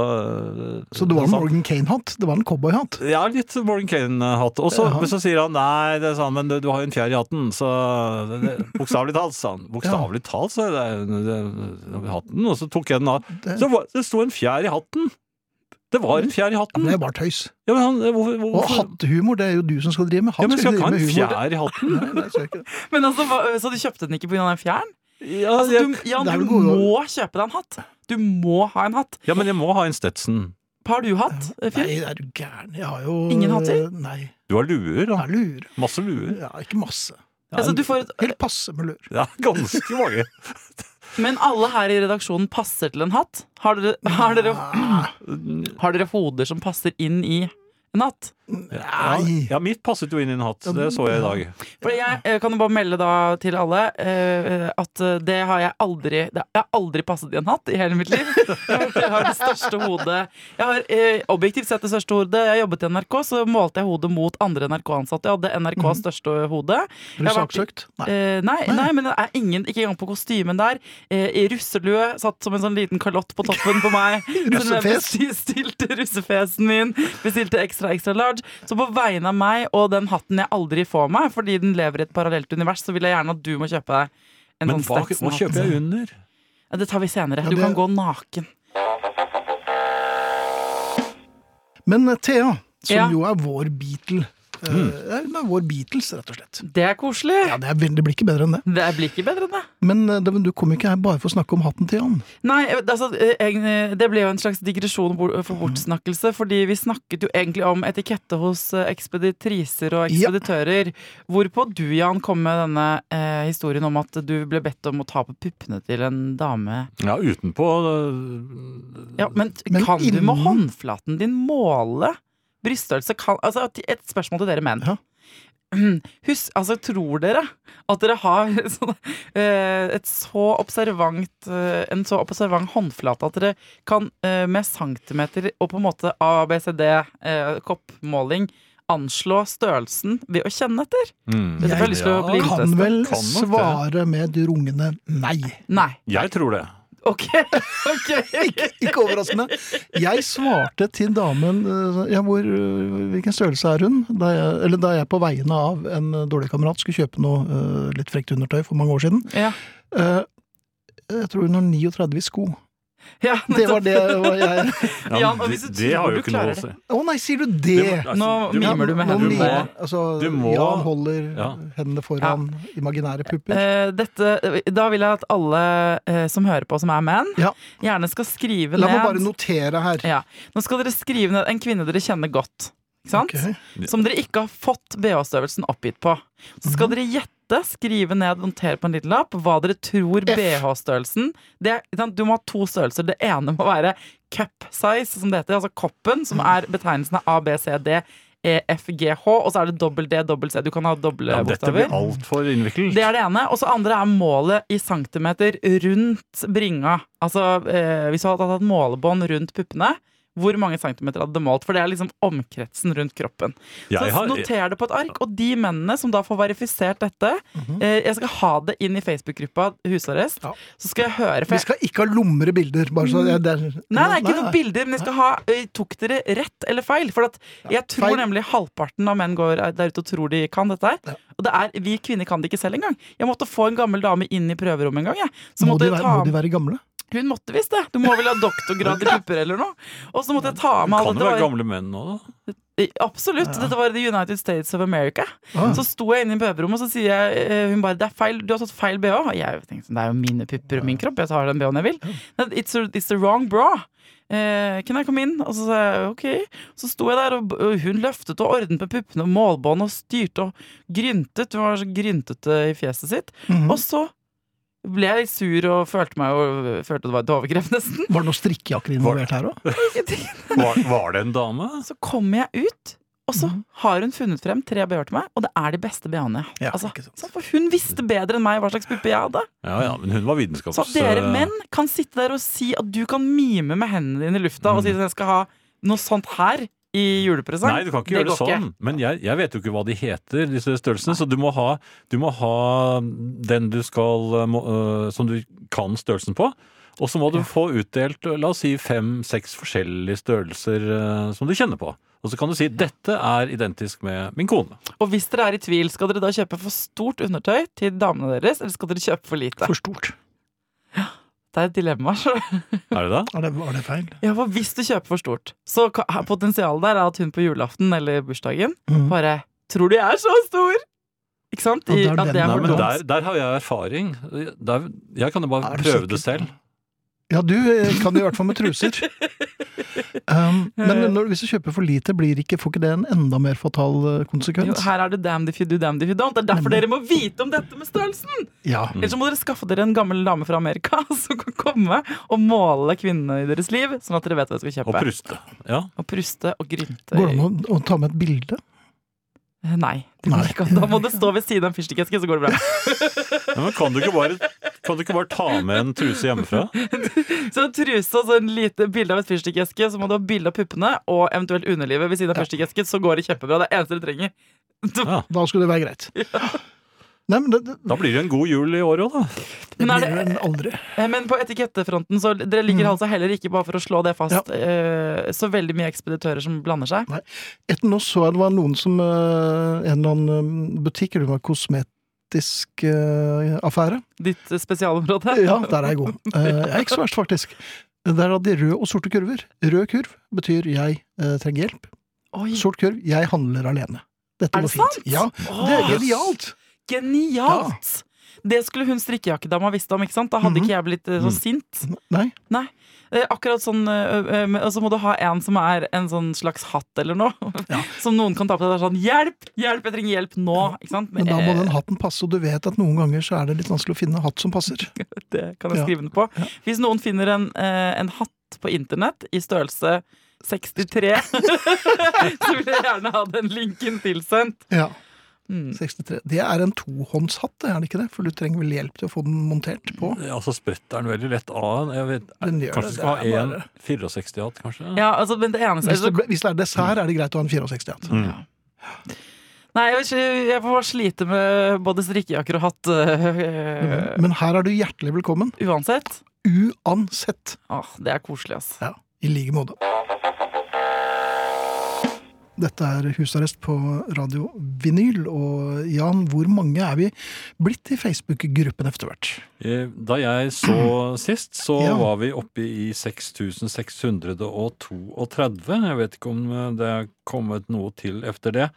Speaker 2: Så det var en
Speaker 3: han sa-
Speaker 2: Morgan Kane-hatt? Det var en cowboyhatt?
Speaker 3: Ja, litt Morgan Kane-hatt. Og så,
Speaker 2: Ja.
Speaker 3: men så sier han nei, det er sånn, men du, du har jo en fjær i hatten, så det- det- Bokstavelig talt, sa han. Bokstavelig talt, så det, det, det, hatten. Og så tok jeg den av.
Speaker 2: Det-
Speaker 3: Så var, det sto en fjær i hatten! Det var en fjær i
Speaker 2: Ja, men
Speaker 3: hatten!
Speaker 2: det er bare tøys.
Speaker 3: Ja, men han, eh, hvorfor,
Speaker 2: Og
Speaker 3: hvorfor?
Speaker 2: hattehumor, det er jo du som skal drive med.
Speaker 3: Ja,
Speaker 2: Han
Speaker 3: men
Speaker 2: skal
Speaker 3: skal jeg
Speaker 2: drive
Speaker 3: ikke ha
Speaker 2: med
Speaker 3: en
Speaker 2: humor.
Speaker 3: fjær i hatten?
Speaker 2: Nei, nei, skal ikke det.
Speaker 4: Men altså, hva- Så du kjøpte den ikke pga. den fjæren?
Speaker 3: Ja,
Speaker 4: Altså,
Speaker 3: jeg,
Speaker 4: du, ja,
Speaker 2: det er
Speaker 4: du
Speaker 2: vel gode
Speaker 4: må kjøpe deg en hatt! Du må ha en hatt.
Speaker 3: ja, men jeg må ha en Stetson.
Speaker 4: Har du hatt, Fjell?
Speaker 2: Nei, er du gæren? Jeg har jo
Speaker 4: Ingen hatter?
Speaker 2: Nei.
Speaker 3: Du har luer, da.
Speaker 2: Jeg lurer.
Speaker 3: Masse luer.
Speaker 2: Ja, ikke masse.
Speaker 4: Altså, du får et,
Speaker 2: Helt passe med lur.
Speaker 3: Ja, ganske mange.
Speaker 4: men alle her i redaksjonen passer til en hatt. Har dere,
Speaker 2: Ah.
Speaker 4: har dere, har dere hoder som passer inn i en hatt?
Speaker 3: Ja, ja, mitt passet jo inn i en hatt. Det så jeg i dag.
Speaker 4: For jeg eh, kan jo bare melde da til alle eh, at eh, det har jeg aldri det, Jeg har aldri passet i en hatt i hele mitt liv. Jeg har det største hodet Jeg har eh, objektivt sett det største hodet. Jeg jobbet i NRK, så målte jeg hodet mot andre NRK-ansatte. Jeg hadde NRKs største hode.
Speaker 2: Blir
Speaker 4: Jeg
Speaker 2: Mhm. du
Speaker 4: har vært-
Speaker 2: saksøkt? Nei.
Speaker 4: Eh, nei,
Speaker 2: Nei.
Speaker 4: nei, men det er ingen Ikke engang på kostymen der. Eh, I russelue, satt som en sånn liten kalott på toppen på meg. Så jeg
Speaker 2: Russefes?
Speaker 4: Bestilte russefesen min. Bestilte ekstra, ekstra large. Så på vegne av meg og den hatten jeg aldri får meg, fordi den lever i et parallelt univers, så vil jeg gjerne at du må kjøpe deg en
Speaker 3: Men
Speaker 4: sånn
Speaker 3: hva, hva
Speaker 4: Stetson-hatt.
Speaker 3: kjøper jeg under?
Speaker 4: Ja, det tar vi senere.
Speaker 2: Ja,
Speaker 4: Du
Speaker 2: det-
Speaker 4: kan gå naken.
Speaker 2: Men eh, Thea, som
Speaker 4: Ja. Mm.
Speaker 2: jo er vår Beatle eh, ja, Hun er vår Beatles, rett og slett.
Speaker 4: Det er koselig.
Speaker 2: Ja, det, er veldig, det blir ikke bedre enn det.
Speaker 4: Det blir ikke bedre enn det.
Speaker 2: Men eh, det- men du kom jo ikke her bare for å snakke om hatten til Jan.
Speaker 4: Nei, altså, eh, egentlig- det ble jo en slags digresjon bort- eh, for bortsnakkelse, fordi vi snakket jo egentlig om etikette hos eh, ekspeditriser
Speaker 2: Ja.
Speaker 4: og ekspeditører, hvorpå du, Jan, kom med denne eh, historien om at du ble bedt om å ta på puppene til en dame.
Speaker 3: Ja, utenpå øh,
Speaker 4: Ja, men, t-
Speaker 2: Men
Speaker 4: kan du med
Speaker 2: innen-
Speaker 4: håndflaten din måle bryststørrelse? Kan, altså, et- et spørsmål til dere menn.
Speaker 2: Ja.
Speaker 4: Husk, altså, tror dere at dere har sånn, eh, et så observant, eh, en så observant håndflate at dere kan eh, med centimeter og på en måte ABCD-koppmåling eh, anslå størrelsen ved å kjenne etter?
Speaker 3: Mm.
Speaker 4: Vet du, jeg har lyst til å bli-
Speaker 3: ja,
Speaker 2: Kan vel
Speaker 3: Kan nok det.
Speaker 2: svare med et rungende nei.
Speaker 4: Nei.
Speaker 3: Jeg tror det.
Speaker 4: OK. ok.
Speaker 2: Ikke overraskende. Jeg svarte til damen eh, ja, hvor, eh, Hvilken størrelse er hun? Da jeg, eller da jeg på vegne av en eh, dårlig kamerat skulle kjøpe noe eh, litt frekt undertøy for mange år siden.
Speaker 4: Ja.
Speaker 2: Eh, jeg tror hun har 39 i sko.
Speaker 4: ja
Speaker 2: Det var det var jeg
Speaker 3: Ja,
Speaker 4: Jan,
Speaker 3: men
Speaker 4: og
Speaker 3: det,
Speaker 4: hvis du
Speaker 3: det
Speaker 4: tror
Speaker 3: har
Speaker 4: du
Speaker 3: jo ikke noe
Speaker 4: klarer
Speaker 3: å si.
Speaker 2: Å nei, sier du
Speaker 3: Du
Speaker 2: det?
Speaker 3: må- altså,
Speaker 4: Nå
Speaker 3: du må-
Speaker 4: mimer du med
Speaker 2: Nå
Speaker 4: hendene.
Speaker 3: Du
Speaker 2: mimer-
Speaker 3: må,
Speaker 2: altså,
Speaker 3: du må-
Speaker 2: Jan holder
Speaker 3: Ja.
Speaker 2: hendene foran imaginære pupper.
Speaker 4: Eh, dette, da vil jeg at alle eh, som hører på, som er menn,
Speaker 2: Ja.
Speaker 4: gjerne skal skrive
Speaker 2: La meg
Speaker 4: ned
Speaker 2: bare notere her.
Speaker 4: ja. Nå skal dere skrive ned en kvinne dere kjenner godt. Ikke sant?
Speaker 2: Ok.
Speaker 4: Som dere ikke har fått BH-størrelsen oppgitt på. Så
Speaker 2: Mhm.
Speaker 4: skal dere gjette, skrive ned, notere på en liten lapp hva dere tror
Speaker 2: F.
Speaker 4: BH-størrelsen det er- ikke sant? Du må ha to størrelser. Det ene må være cup size, som det heter. Altså koppen, som er betegnelsen av A, B, C, D. EFGH, og så er det dobbel D, dobbel C. Du kan ha doble
Speaker 3: Ja, dette blir
Speaker 4: bokstaver.
Speaker 3: altfor innviklet.
Speaker 4: Det er det ene. Og så andre er målet i centimeter rundt bringa. Altså eh, hvis du hadde hatt målebånd rundt puppene, hvor mange centimeter hadde det målt? For det er liksom omkretsen rundt kroppen.
Speaker 3: Jeg
Speaker 4: så
Speaker 3: har-
Speaker 4: noter det på et ark, og de mennene som da får verifisert dette
Speaker 3: Mhm.
Speaker 4: eh, Jeg skal ha det inn i Facebook-gruppa Husarrest,
Speaker 2: Ja.
Speaker 4: så skal jeg høre. For
Speaker 2: Vi
Speaker 4: jeg,
Speaker 2: skal ikke ha lumre bilder. Bare så det, det,
Speaker 4: Mm. nei, det er ikke noen bilder, men jeg skal ha eh, Tok dere rett eller feil? For at jeg tror
Speaker 2: feil.
Speaker 4: nemlig halvparten av menn går der ute og tror de kan dette her. Og det er, vi kvinner kan det ikke selv engang. Jeg måtte få en gammel dame inn i prøverommet en gang. Jeg. Så
Speaker 2: Må
Speaker 4: måtte
Speaker 2: de,
Speaker 4: jeg
Speaker 2: være,
Speaker 4: ta
Speaker 2: må de være gamle?
Speaker 4: Hun måtte visst det. Du må vel ha doktorgrad i pupper eller noe. Og så måtte jeg ta av meg
Speaker 3: Kan
Speaker 4: alle
Speaker 3: det være
Speaker 4: dette var-
Speaker 3: gamle menn nå, da?
Speaker 4: Eh, Absolutt. Dette var i The United States of America.
Speaker 2: Ah.
Speaker 4: Så sto jeg inne i prøverommet, og så sier jeg, eh, hun bare 'Det er feil, du har tatt feil bh'. Og jeg tenkte sånn, det er jo mine pupper og min kropp, jeg tar den bh-en jeg vil. Nei, It's, a, it's the wrong bra. Eh, can I come in? Og så sa jeg ok. Så sto jeg der, og og hun løftet og ordnet med puppene og målbånd og styrte og gryntet. Hun var så gryntete i fjeset sitt.
Speaker 2: Mhm.
Speaker 4: Og så ble jeg litt sur og følte, meg, jo- følte det var et overgrep, nesten.
Speaker 2: Var det noen strikkejakker involvert her òg?
Speaker 3: Var, var det en dame?
Speaker 4: Så kommer jeg ut, og så
Speaker 2: Mhm.
Speaker 4: har hun funnet frem tre bh til meg, og det er de beste bh-ene. jeg
Speaker 2: Ja,
Speaker 4: har. altså,
Speaker 2: ikke sant.
Speaker 4: sånn, for hun visste bedre enn meg hva slags puppe jeg hadde.
Speaker 3: Ja, ja, men hun var vitenskaps...
Speaker 4: Så at dere
Speaker 3: eh,
Speaker 4: menn kan sitte der og si at du kan mime med hendene dine i lufta og si at jeg skal ha noe sånt her i julepresang.
Speaker 3: Mhm. Nei, du kan ikke gjøre det
Speaker 4: går
Speaker 3: sånn. Men jeg, jeg vet jo ikke hva de heter, disse størrelsene. Så du må ha, du må ha den du skal eh, må, eh, Som du kan størrelsen på. Og så må du få utdelt eh, la oss si fem-seks forskjellige størrelser eh, som du kjenner på. Og så kan du si 'dette er identisk med min kone'.
Speaker 4: Og hvis dere er i tvil, skal dere da kjøpe for stort undertøy til damene deres, eller skal dere kjøpe for lite?
Speaker 2: For stort.
Speaker 4: Det er et dilemma. skjønner du.
Speaker 3: Er det det?
Speaker 2: Var det, var det feil?
Speaker 4: Ja, for hvis du kjøper for stort, så ka- potensialet der er at hun på julaften eller bursdagen
Speaker 2: Mhm.
Speaker 4: bare Tror du jeg er så stor? Ikke sant? I,
Speaker 2: Ja, det er
Speaker 4: at det er
Speaker 2: den.
Speaker 3: Nei,
Speaker 4: for
Speaker 3: men
Speaker 4: dumt.
Speaker 3: der, der har jeg erfaring. Der, jeg kan jo bare
Speaker 2: Er du
Speaker 3: prøve
Speaker 2: sikker?
Speaker 3: det selv.
Speaker 2: Ja, du eh, kan det i hvert fall med truser. Um,
Speaker 4: Eh.
Speaker 2: men når, hvis du kjøper for lite, blir ikke, får ikke det en enda mer fatal eh,
Speaker 4: Jo,
Speaker 2: konsekvens?
Speaker 4: her er det damned if you do, damned if you don't. Det er derfor dere må vite om dette med størrelsen!
Speaker 2: Ja.
Speaker 4: Ellers så må dere skaffe dere en gammel dame fra Amerika som kan komme og måle kvinnene i deres liv, sånn at dere vet hva dere skal
Speaker 3: Og
Speaker 4: kjøpe.
Speaker 3: pruste. Ja.
Speaker 4: Og pruste og grynte.
Speaker 2: Går det an å, å ta med et bilde?
Speaker 4: Eh, Nei. det går
Speaker 2: Nei.
Speaker 4: ikke an. Da må det stå ved siden av en fyrstikkeske, så går det bra.
Speaker 3: Nei, men kan du, ikke bare, kan du ikke bare ta med en truse hjemmefra?
Speaker 4: Så en truse og så en lite bilde av et fyrstikkeske, så må du ha bilde av puppene og eventuelt underlivet ved siden av fyrstikkesken, så går det kjempebra. Det er det eneste dere trenger.
Speaker 2: Da skulle det være greit. Nei, men det, det,
Speaker 3: Da blir det en god jul i år òg, da.
Speaker 2: det
Speaker 4: Men er
Speaker 2: blir
Speaker 4: det-
Speaker 2: jo en aldri.
Speaker 4: Eh, Men på etikettefronten så dere ligger altså heller ikke, bare for å slå det fast,
Speaker 2: Mm. Ja.
Speaker 4: eh, så veldig mye ekspeditører som blander seg.
Speaker 2: Etter nå så jeg det var noen som eh, En eller annen eh, butikk, eller det var en kosmetisk eh, affære.
Speaker 4: Ditt eh, spesialområde.
Speaker 2: Ja, der er jeg god. Eh, jeg er ikke så verst, faktisk. Der hadde de røde og sorte kurver. Rød kurv betyr jeg eh, trenger hjelp.
Speaker 4: Oi,
Speaker 2: Sort kurv jeg handler alene. Dette
Speaker 4: Er
Speaker 2: går
Speaker 4: det
Speaker 2: fint.
Speaker 4: sant?
Speaker 2: Ja,
Speaker 4: Åh,
Speaker 2: det er genialt!
Speaker 4: Genialt! Det skulle hun strikkejakkedama visst om, ikke sant? Da hadde
Speaker 2: Mhm.
Speaker 4: ikke jeg blitt eh,
Speaker 3: Mm.
Speaker 4: så sint.
Speaker 2: Nei.
Speaker 4: Eh, akkurat sånn, eh, eh, men- Og så må du ha en som er en sånn slags hatt eller noe.
Speaker 2: Ja.
Speaker 4: Som noen kan ta på deg. Det er sånn 'hjelp! Hjelp! Jeg trenger hjelp nå!' Ikke sant?
Speaker 2: Men da må
Speaker 4: Eh,
Speaker 2: den hatten passe, og du vet at noen ganger så er det litt vanskelig å finne hatt som passer.
Speaker 4: Det kan jeg
Speaker 2: Ja.
Speaker 4: skrive den på. Hvis noen finner en, eh, en hatt på internett i størrelse 63, så vil jeg gjerne ha den linken tilsendt.
Speaker 2: Ja,
Speaker 4: Mm.
Speaker 2: 63. Det er en tohåndsatt, det er det ikke det? For du trenger vel hjelp til å få den montert på?
Speaker 4: Mm.
Speaker 3: Altså Spretter den veldig lett av? Jeg vet,
Speaker 2: Den gjør det,
Speaker 3: kanskje du skal
Speaker 2: det
Speaker 3: ha
Speaker 2: er
Speaker 3: en
Speaker 2: bare-
Speaker 3: 64-hatt, kanskje?
Speaker 4: Ja, altså, men det eneste
Speaker 2: Hvis det, ble- hvis det er dessert, er det greit å ha en 64-hatt.
Speaker 3: Mm.
Speaker 4: Nei, jeg, vet ikke, jeg får slite med både strikkejakker og hatt øh,
Speaker 2: Men her er du hjertelig velkommen,
Speaker 4: uansett.
Speaker 2: uansett.
Speaker 4: Åh, det er koselig, ass.
Speaker 2: Ja, i like måte. Dette er husarrest på Radio Vinyl, og Jan, hvor mange er vi blitt i Facebook-gruppen etter hvert?
Speaker 3: Eh, Da jeg så sist, så
Speaker 2: Ja.
Speaker 3: var vi oppe i 6632. Jeg vet ikke om eh, det er kommet noe til efter det.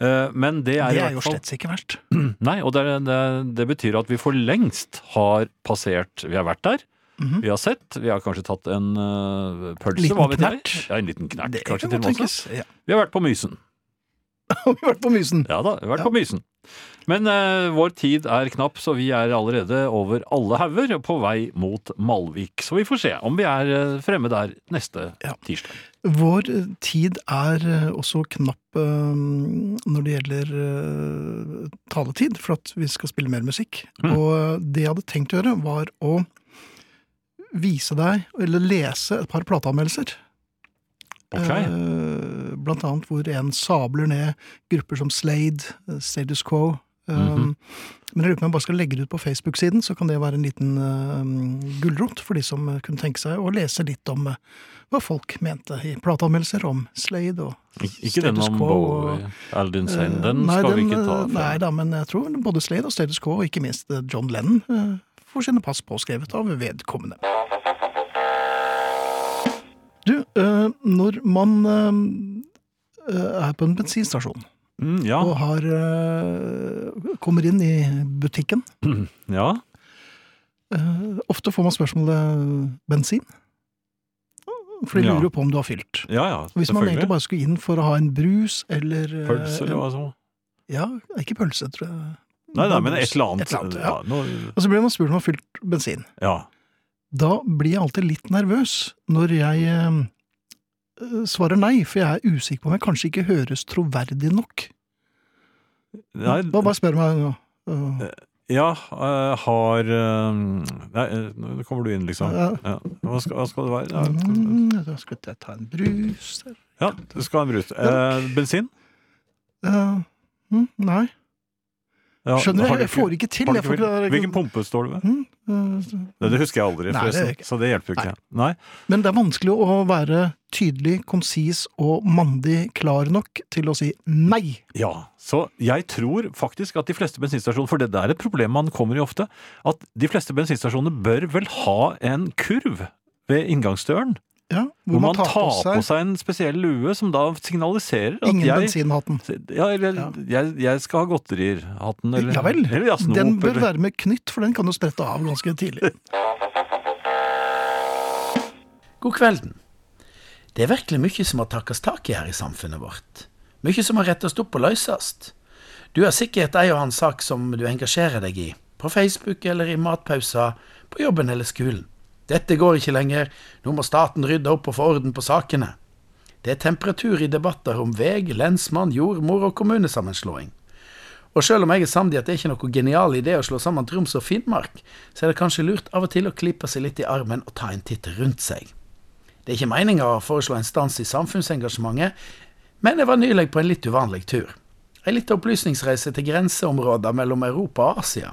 Speaker 3: Eh, Men det er,
Speaker 2: Det
Speaker 3: i
Speaker 2: er
Speaker 3: hvert
Speaker 2: jo
Speaker 3: fall-
Speaker 2: slett ikke verst.
Speaker 3: Nei, og det, er- det, er- det betyr at vi for lengst har passert Vi har vært der,
Speaker 2: Mhm.
Speaker 3: vi har sett, vi har kanskje tatt en eh, pølse,
Speaker 2: Liten
Speaker 3: hva vet jeg.
Speaker 2: knert.
Speaker 3: Ja, en liten knert,
Speaker 2: Det kan
Speaker 3: kanskje til
Speaker 2: godt
Speaker 3: og med
Speaker 2: tenkes.
Speaker 3: også.
Speaker 2: Ja.
Speaker 3: Vi har vært på Mysen.
Speaker 2: har vi vært på Mysen.
Speaker 3: Ja da, vi har vært på Mysen. Men eh, vår tid er knapp, så vi er allerede over alle hauger på vei mot Malvik. Så vi får se om vi er eh, fremme der neste
Speaker 2: Ja.
Speaker 3: tirsdag.
Speaker 2: Vår eh, tid er eh, også knapp eh, når det gjelder eh, taletid, for at vi skal spille mer musikk.
Speaker 3: Mm.
Speaker 2: Og eh, det jeg hadde tenkt å gjøre, var å vise deg, eller lese, et par plateanmeldelser.
Speaker 3: Ok,
Speaker 2: Eh, Blant annet hvor en sabler ned grupper som Slade, eh, Status Quo. eh,
Speaker 3: Mhm.
Speaker 2: Men jeg lurer på om jeg bare skal legge det ut på Facebook-siden, så kan det være en liten uh, gulrot for de som eh, kunne tenke seg å lese litt om eh, hva folk mente i plateanmeldelser om Slade og
Speaker 3: Ik- Ikke den
Speaker 2: status
Speaker 3: om
Speaker 2: quo
Speaker 3: Bowie.
Speaker 2: og-
Speaker 3: Aldrin
Speaker 2: eh,
Speaker 3: Sein, den
Speaker 2: nei,
Speaker 3: skal vi
Speaker 2: den,
Speaker 3: ikke ta
Speaker 2: eh,
Speaker 3: fra.
Speaker 2: Nei da, men jeg tror både Slade og Status Quo, og ikke minst eh, John Lennon, eh, får sine pass påskrevet av vedkommende. Du, eh, når man eh, eh, er på en bensinstasjon
Speaker 3: Mm, ja,
Speaker 2: og har, eh, kommer inn i butikken
Speaker 3: ja.
Speaker 2: eh, Ofte får man spørsmålet eh, 'bensin'? For de
Speaker 3: Ja.
Speaker 2: lurer jo på om du har fylt.
Speaker 3: Ja, ja,
Speaker 2: Hvis man egentlig
Speaker 3: selvfølgelig.
Speaker 2: bare skulle inn for å ha en brus eller eh,
Speaker 3: Pølse eller
Speaker 2: en-
Speaker 3: hva som
Speaker 2: Ja, ikke pølse, tror jeg.
Speaker 3: Nei, nei,
Speaker 2: Bare
Speaker 3: men
Speaker 2: brus.
Speaker 3: et eller annet.
Speaker 2: ja.
Speaker 3: ja. noe-
Speaker 2: Og så blir man spurt om man har fylt bensin.
Speaker 3: ja.
Speaker 2: Da blir jeg alltid litt nervøs når jeg eh, eh, svarer nei, for jeg er usikker på om jeg kanskje ikke høres troverdig nok.
Speaker 3: Nei,
Speaker 2: Bare, bare spør meg nå. Eh,
Speaker 3: Ja, eh, har eh, Nei, eh, nå kommer du inn, liksom.
Speaker 2: Ja.
Speaker 3: Ja. Hva, skal, hva skal det være? Ja.
Speaker 2: mm, Da skal jeg ta en brus der.
Speaker 3: ja, du skal ha en brus. Eh, bensin?
Speaker 2: Eh, mm, Nei.
Speaker 3: Ja,
Speaker 2: Skjønner
Speaker 3: har
Speaker 2: du?
Speaker 3: du
Speaker 2: Jeg får ikke til.
Speaker 3: har du
Speaker 2: Jeg får ikke,
Speaker 3: vel- Hvilken pumpe står du ved?
Speaker 2: Mm, eh,
Speaker 3: Det, det husker jeg
Speaker 2: Nei,
Speaker 3: aldri,
Speaker 2: det
Speaker 3: forresten.
Speaker 2: gjør jeg ikke.
Speaker 3: så det hjelper jo ikke. Nei.
Speaker 2: Men det er vanskelig å være tydelig, konsis og mandig klar nok til å si nei.
Speaker 3: Ja, så jeg tror faktisk at de fleste bensinstasjoner, for det der er et problem man kommer i ofte, at de fleste bensinstasjoner bør vel ha en kurv ved inngangsdøren,
Speaker 2: Ja,
Speaker 3: hvor, man tar, på, seg... en spesiell lue som da signaliserer at
Speaker 2: Ingen
Speaker 3: jeg
Speaker 2: bensinhatten.
Speaker 3: Ja, eller
Speaker 2: Ja.
Speaker 3: Jeg, jeg skal ha godterier-hatten, eller
Speaker 2: Ja vel.
Speaker 3: Eller jazznope,
Speaker 2: Den bør
Speaker 3: eller-
Speaker 2: være med knytt, for den kan du sprette av ganske tidlig.
Speaker 5: God kvelden. Det er virkelig mye som må takkes tak i her i samfunnet vårt. Mye som må rettes opp og løses. Du har sikkert ei og annen sak som du engasjerer deg i, på Facebook eller i matpauser, på jobben eller skolen. Dette går ikke lenger, nå må staten rydde opp og få orden på sakene. Det er temperatur i debatter om veg, lensmann, jordmor og kommunesammenslåing. Og selv om jeg er samd i at det er ikke noe genial idé å slå sammen Troms og Finnmark, så er det kanskje lurt av og til å klippe seg litt i armen og ta en titt rundt seg. Det er ikke meninga å foreslå en stans i samfunnsengasjementet, men jeg var nylig på en litt uvanlig tur. Ei lita opplysningsreise til grenseområder mellom Europa og Asia.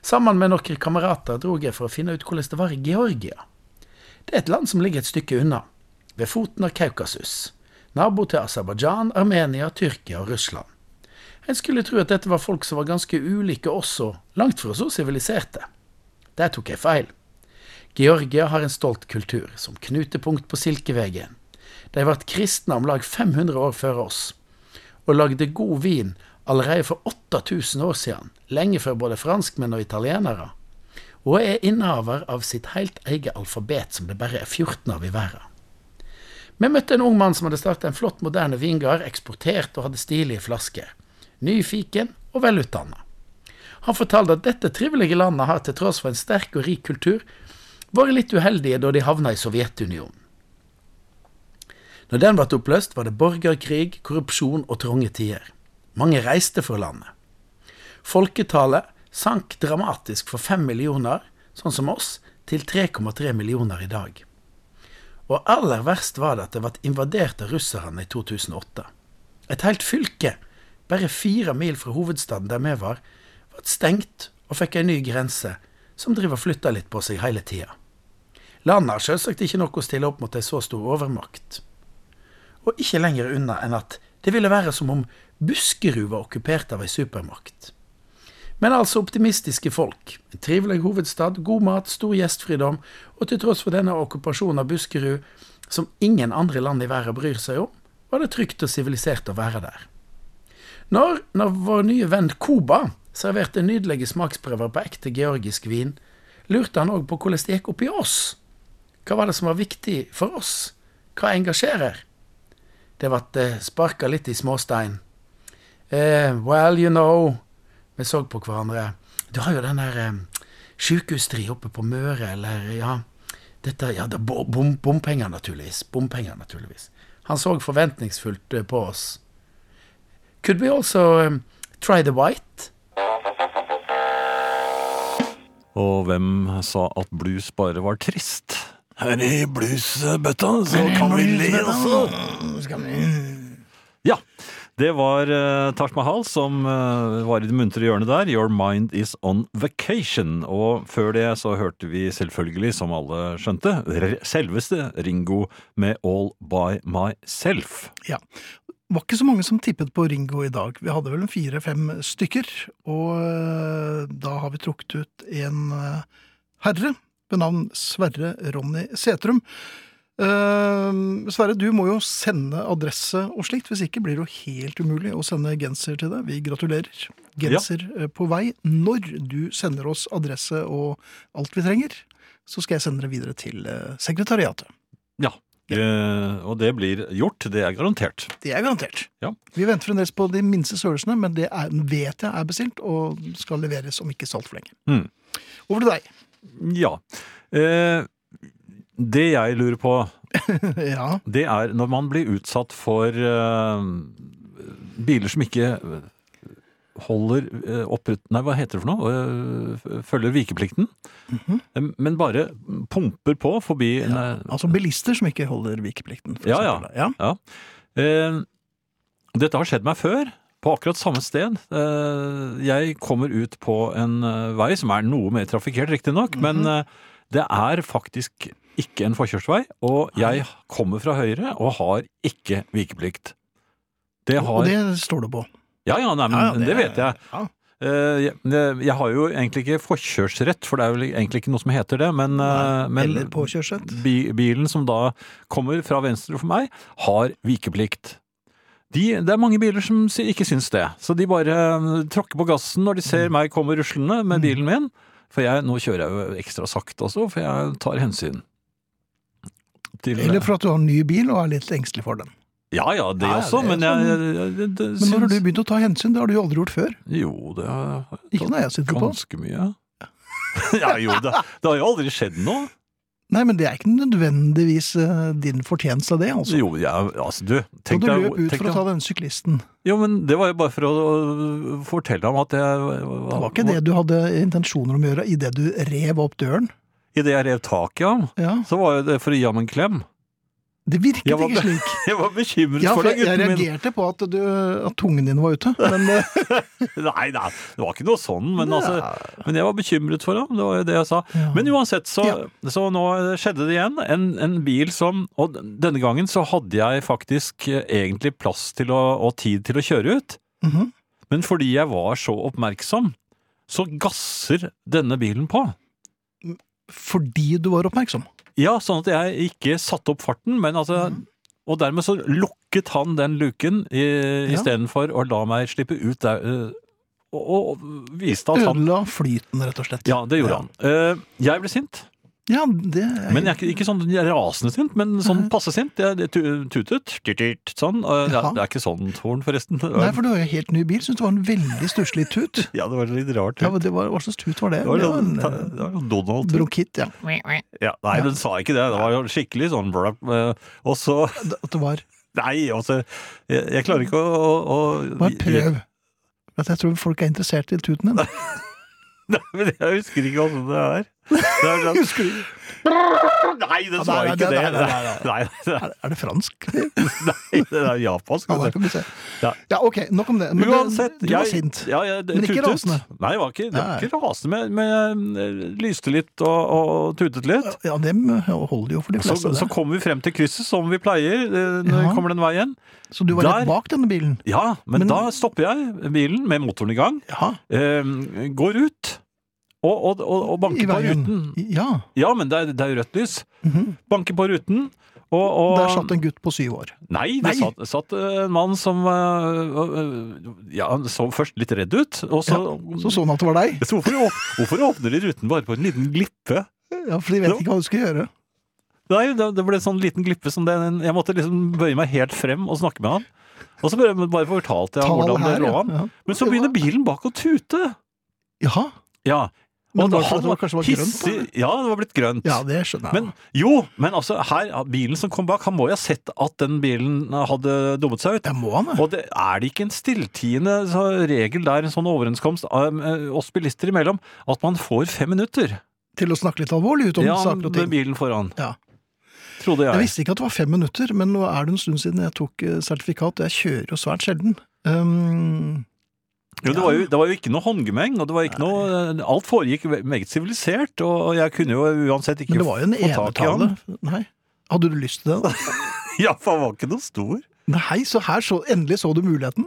Speaker 5: Sammen med noen kamerater drog jeg for å finne ut hvordan det var i Georgia. Det er et land som ligger et stykke unna, ved foten av Kaukasus. Nabo til Aserbajdsjan, Armenia, Tyrkia og Russland. En skulle tro at dette var folk som var ganske ulike også, langt fra så siviliserte. Der tok jeg feil. Georgia har en stolt kultur, som knutepunkt på Silkevegen. De ble kristne om lag 500 år før oss, og lagde god vin allerede for 8000 år siden, lenge før både franskmenn og italienere, og er innehaver av sitt helt eget alfabet, som det bare er 14 av i verden. Vi møtte en ung mann som hadde startet en flott, moderne vingard, eksportert og hadde stilige flasker. Nyfiken og velutdanna. Han fortalte at dette trivelige landet har, til tross for en sterk og rik kultur, vært litt uheldige da de havna i Sovjetunionen. Når den ble oppløst, var det borgerkrig, korrupsjon og trange tider. Mange reiste fra landet. Folketallet sank dramatisk fra fem millioner, sånn som oss, til 3,3 millioner i dag. Og aller verst var det at det ble invadert av russerne i 2008. Et helt fylke, bare fire mil fra hovedstaden der vi var, ble stengt og fikk ei ny grense, som driver og flytter litt på seg hele tida. Landet har selvsagt ikke noe å stille opp mot ei så stor overmakt. Og ikke lenger unna enn at det ville være som om Buskerud var okkupert av ei supermakt. Men altså optimistiske folk. En trivelig hovedstad, god mat, stor gjestfridom, og til tross for denne okkupasjonen av Buskerud, som ingen andre land i verden bryr seg om, var det trygt og sivilisert å være der. Når, når vår nye venn Koba serverte nydelige smaksprøver på ekte georgisk vin, lurte han òg på hvordan det gikk opp i oss. Hva var det som var viktig for oss? Hva engasjerer? Det ble sparka eh, litt i småstein, Eh, well, you know Vi så på hverandre. Du har jo den der eh, sjukehustri oppe på Møre, eller ja Dette, ja, det er bo- bom, Bompenger, naturligvis. Bompenger, naturligvis. Han så forventningsfullt eh, på oss. Could we also eh, try the white?
Speaker 3: Og hvem sa at blues bare var trist? Her i bluesbøtta, så kan vi le også. Ja. Det var uh, Taj Mahal som eh, var i det muntre hjørnet der. Your mind is on vacation. Og før det så hørte vi selvfølgelig, som alle skjønte, r selveste Ringo med All by myself.
Speaker 2: Ja. Det var ikke så mange som tippet på Ringo i dag. Vi hadde vel en fire-fem stykker. Og eh, da har vi trukket ut en eh, herre ved navn Sverre Ronny Setrum. Eh, Sverre, du må jo sende adresse og slikt. Hvis ikke blir det jo helt umulig å sende genser til deg. Vi gratulerer. Genser eh, på vei. Når du sender oss adresse og alt vi trenger, så skal jeg sende det videre til eh, sekretariatet.
Speaker 3: Ja. Eh, og det blir gjort. Det er garantert.
Speaker 2: Det er garantert.
Speaker 3: Ja.
Speaker 2: Vi venter fremdeles på de minste størrelsene, men det er, vet jeg er bestilt og skal leveres om ikke så altfor lenge.
Speaker 3: Mm.
Speaker 2: Over til deg.
Speaker 3: Ja. Eh, det jeg lurer på,
Speaker 2: ja.
Speaker 3: det er når man blir utsatt for eh, biler som ikke eh, holder eh, oppret... Nei, hva heter det for noe? Eh, følger vikeplikten. Eh, Men bare pumper på forbi en, eh,
Speaker 2: Altså bilister som ikke holder vikeplikten. for
Speaker 3: Ja, ja.
Speaker 2: eksempel. ja.
Speaker 3: Ja. Eh, dette har skjedd meg før, på akkurat samme sted. Eh, jeg kommer ut på en eh, vei som er noe mer trafikkert, riktignok,
Speaker 2: Mhm.
Speaker 3: men eh, det er faktisk ikke en forkjørsvei, og jeg kommer fra høyre og har ikke vikeplikt. Det har
Speaker 2: Og det står det på.
Speaker 3: Ja ja, nei, men
Speaker 2: Ja, ja,
Speaker 3: det,
Speaker 2: det er-
Speaker 3: vet jeg.
Speaker 2: ja.
Speaker 3: Eh, jeg, det- jeg har jo egentlig ikke forkjørsrett, for det er vel egentlig ikke noe som heter det, men, eh, men
Speaker 2: Eller påkjørsrett.
Speaker 3: bi bilen som da kommer fra venstre for meg, har vikeplikt. De, det er mange biler som sy- ikke syns det, så de bare eh, tråkker på gassen når de
Speaker 2: Mm.
Speaker 3: ser meg komme ruslende med bilen min. For jeg, nå kjører jeg jo ekstra sakte også, for jeg tar hensyn. Til,
Speaker 2: Eller for at du har en ny bil og er litt engstelig for den.
Speaker 3: Ja ja, det
Speaker 2: Ja, ja,
Speaker 3: også,
Speaker 2: det er sånn.
Speaker 3: men jeg, jeg, jeg det,
Speaker 2: Men når har du
Speaker 3: syns-
Speaker 2: begynt å ta hensyn? Det har du jo aldri gjort før.
Speaker 3: Jo, det har jeg
Speaker 2: Ikke når jeg sitter på.
Speaker 3: ganske mye. ja jo, det, det har jo aldri skjedd noe.
Speaker 2: Nei, men det er ikke nødvendigvis eh, din fortjeneste av det, altså.
Speaker 3: Jo, jeg, altså du
Speaker 2: Da
Speaker 3: tenk
Speaker 2: du
Speaker 3: deg-
Speaker 2: løp ut
Speaker 3: tenk
Speaker 2: for å
Speaker 3: deg-
Speaker 2: ta denne syklisten.
Speaker 3: Jo, men det var jo bare for å øh, fortelle ham at jeg
Speaker 2: Det var ikke det du hadde intensjoner om å gjøre idet du rev opp døren.
Speaker 3: Idet jeg rev tak i ham,
Speaker 2: Ja.
Speaker 3: så var jo det for å gi ham en klem.
Speaker 2: Det virket
Speaker 3: Jeg var-
Speaker 2: ikke slik.
Speaker 3: Jeg var bekymret
Speaker 2: Ja,
Speaker 3: for
Speaker 2: for
Speaker 3: deg,
Speaker 2: jeg, jeg
Speaker 3: gutten min.
Speaker 2: reagerte på at, du, at tungen din var ute. Men, eh,
Speaker 3: Nei, nei, det var ikke noe sånn, men, altså,
Speaker 2: ja,
Speaker 3: men jeg var bekymret for ham. Det var jo det jeg sa.
Speaker 2: Ja.
Speaker 3: Men uansett, så,
Speaker 2: Ja.
Speaker 3: så nå skjedde det igjen. En, en bil som Og denne gangen så hadde jeg faktisk eh, egentlig plass til å, og tid til å kjøre ut.
Speaker 2: mhm.
Speaker 3: Men fordi jeg var så oppmerksom, så gasser denne bilen på.
Speaker 2: Fordi du var oppmerksom.
Speaker 3: Ja, sånn at jeg ikke satte opp farten, men altså
Speaker 2: Mhm.
Speaker 3: Og dermed så lukket han den luken i-
Speaker 2: Ja.
Speaker 3: istedenfor å la meg slippe ut der. eh, Og, og viste at han
Speaker 2: Ødela flyten, rett og slett.
Speaker 3: Ja, det gjorde
Speaker 2: Ja.
Speaker 3: han. Eh, Jeg ble sint.
Speaker 2: Ja, det er,
Speaker 3: Men jeg er ikke, ikke sånn rasende sint, men sånn passe sint. Jeg jeg tu- tutet. tut-tut, Sånn. Eh, Det er,
Speaker 2: Jaha.
Speaker 3: det er ikke sånn horn, forresten.
Speaker 2: Nei, for du har jo helt ny bil. Syns det var en veldig stusslig tut.
Speaker 3: Ja, det var litt rart.
Speaker 2: Ja, men det var, Hva slags tut var det?
Speaker 3: Det var,
Speaker 2: Det var
Speaker 3: sånn-
Speaker 2: en,
Speaker 3: ta- det
Speaker 2: eh,
Speaker 3: var Donald.
Speaker 2: Bronkitt, ja.
Speaker 3: Ja, nei, den sa ikke det. Det var jo skikkelig sånn blup. eh, Og så
Speaker 2: Det- At det var
Speaker 3: Nei, altså Jeg, jeg klarer ikke å, å, å
Speaker 2: Bare prøv. Vet du, Jeg tror folk er interessert i tuten din.
Speaker 3: Nei, men jeg husker ikke åssen det er. Det er sånn,
Speaker 2: Husker du?
Speaker 3: nei, den
Speaker 2: Ja,
Speaker 3: sa
Speaker 2: nei, nei,
Speaker 3: ikke
Speaker 2: nei,
Speaker 3: det!
Speaker 2: nei, nei,
Speaker 3: Nei, det er-
Speaker 2: Er, er det fransk?
Speaker 3: nei, det er japansk.
Speaker 2: Ja,
Speaker 3: vet
Speaker 2: der
Speaker 3: du.
Speaker 2: kan vi se.
Speaker 3: Ja.
Speaker 2: Ja, ok, nok om det. Men det-
Speaker 3: Uansett,
Speaker 2: du var
Speaker 3: jeg-
Speaker 2: sint.
Speaker 3: Ja, jeg,
Speaker 2: Men ikke
Speaker 3: tutet.
Speaker 2: rasende.
Speaker 3: Nei, jeg var ikke, jeg var
Speaker 2: Nei.
Speaker 3: ikke rasende, men, men jeg lyste litt og, og tutet litt.
Speaker 2: Ja, dem holder jo for de
Speaker 3: Så,
Speaker 2: fleste.
Speaker 3: så
Speaker 2: Så,
Speaker 3: kommer vi frem til krysset, som vi pleier eh, når
Speaker 2: Ja.
Speaker 3: vi kommer den veien.
Speaker 2: så, du var
Speaker 3: der-
Speaker 2: rett bak denne bilen?
Speaker 3: Ja, men,
Speaker 2: Men-
Speaker 3: da stopper jeg bilen med motoren i gang,
Speaker 2: Ja.
Speaker 3: eh, går ut og, og, og, og
Speaker 2: I
Speaker 3: banker på
Speaker 2: veien.
Speaker 3: ruten.
Speaker 2: Ja.
Speaker 3: Ja, men det er, det er jo rødt lys.
Speaker 2: Mhm.
Speaker 3: Banker på ruten. Og, og,
Speaker 2: Der satt en gutt på syv år.
Speaker 3: Nei, det
Speaker 2: Nei.
Speaker 3: Satt, satt eh, en mann som øh, øh, Ja, han så først litt redd ut, og så,
Speaker 2: Så så han at det var deg.
Speaker 3: så hvorfor, åp- hvorfor åpner de ruten bare på en liten glippe?
Speaker 2: Ja, For de vet
Speaker 3: Ja.
Speaker 2: ikke hva du skal gjøre.
Speaker 3: Nei, det, det ble en sånn liten glippe som den Jeg måtte liksom bøye meg helt frem og snakke med han. Og så bare, men bare fortalte jeg ham hvordan det lå an.
Speaker 2: ja.
Speaker 3: Men så begynner bilen bak å tute!
Speaker 2: Jaha.
Speaker 3: Ja.
Speaker 2: Men
Speaker 3: Og
Speaker 2: var det
Speaker 3: han
Speaker 2: fordi det kanskje var grønt, da?
Speaker 3: hissig- Ja, det var blitt grønt.
Speaker 2: Ja, det skjønner jeg.
Speaker 3: Men jo, men altså, her, bilen som kom bak, han må jo ha sett at den bilen hadde dummet seg ut.
Speaker 2: det må han, det.
Speaker 3: Og det, er det ikke en stilltiende så- regel der, en sånn overenskomst um, eh, oss bilister imellom, at man får fem minutter?
Speaker 2: Til å snakke litt alvorlig ut om
Speaker 3: ja,
Speaker 2: saker og
Speaker 3: med
Speaker 2: ting.
Speaker 3: bilen foran.
Speaker 2: Ja.
Speaker 3: Trodde jeg.
Speaker 2: Jeg visste ikke at det var fem minutter, men nå er det en stund siden jeg tok eh, sertifikat. og Jeg kjører jo svært sjelden. Um,
Speaker 3: Jo, det, var jo, det var jo ikke noe håndgemeng, og det var ikke noe eh, Alt foregikk ve- meget sivilisert, og jeg kunne jo uansett ikke
Speaker 2: men det var jo en
Speaker 3: få tak i ham.
Speaker 2: enetale. Nei. Hadde du lyst til det? da?
Speaker 3: Ja, for han var ikke noe stor.
Speaker 2: Nei, så her så, endelig så du muligheten.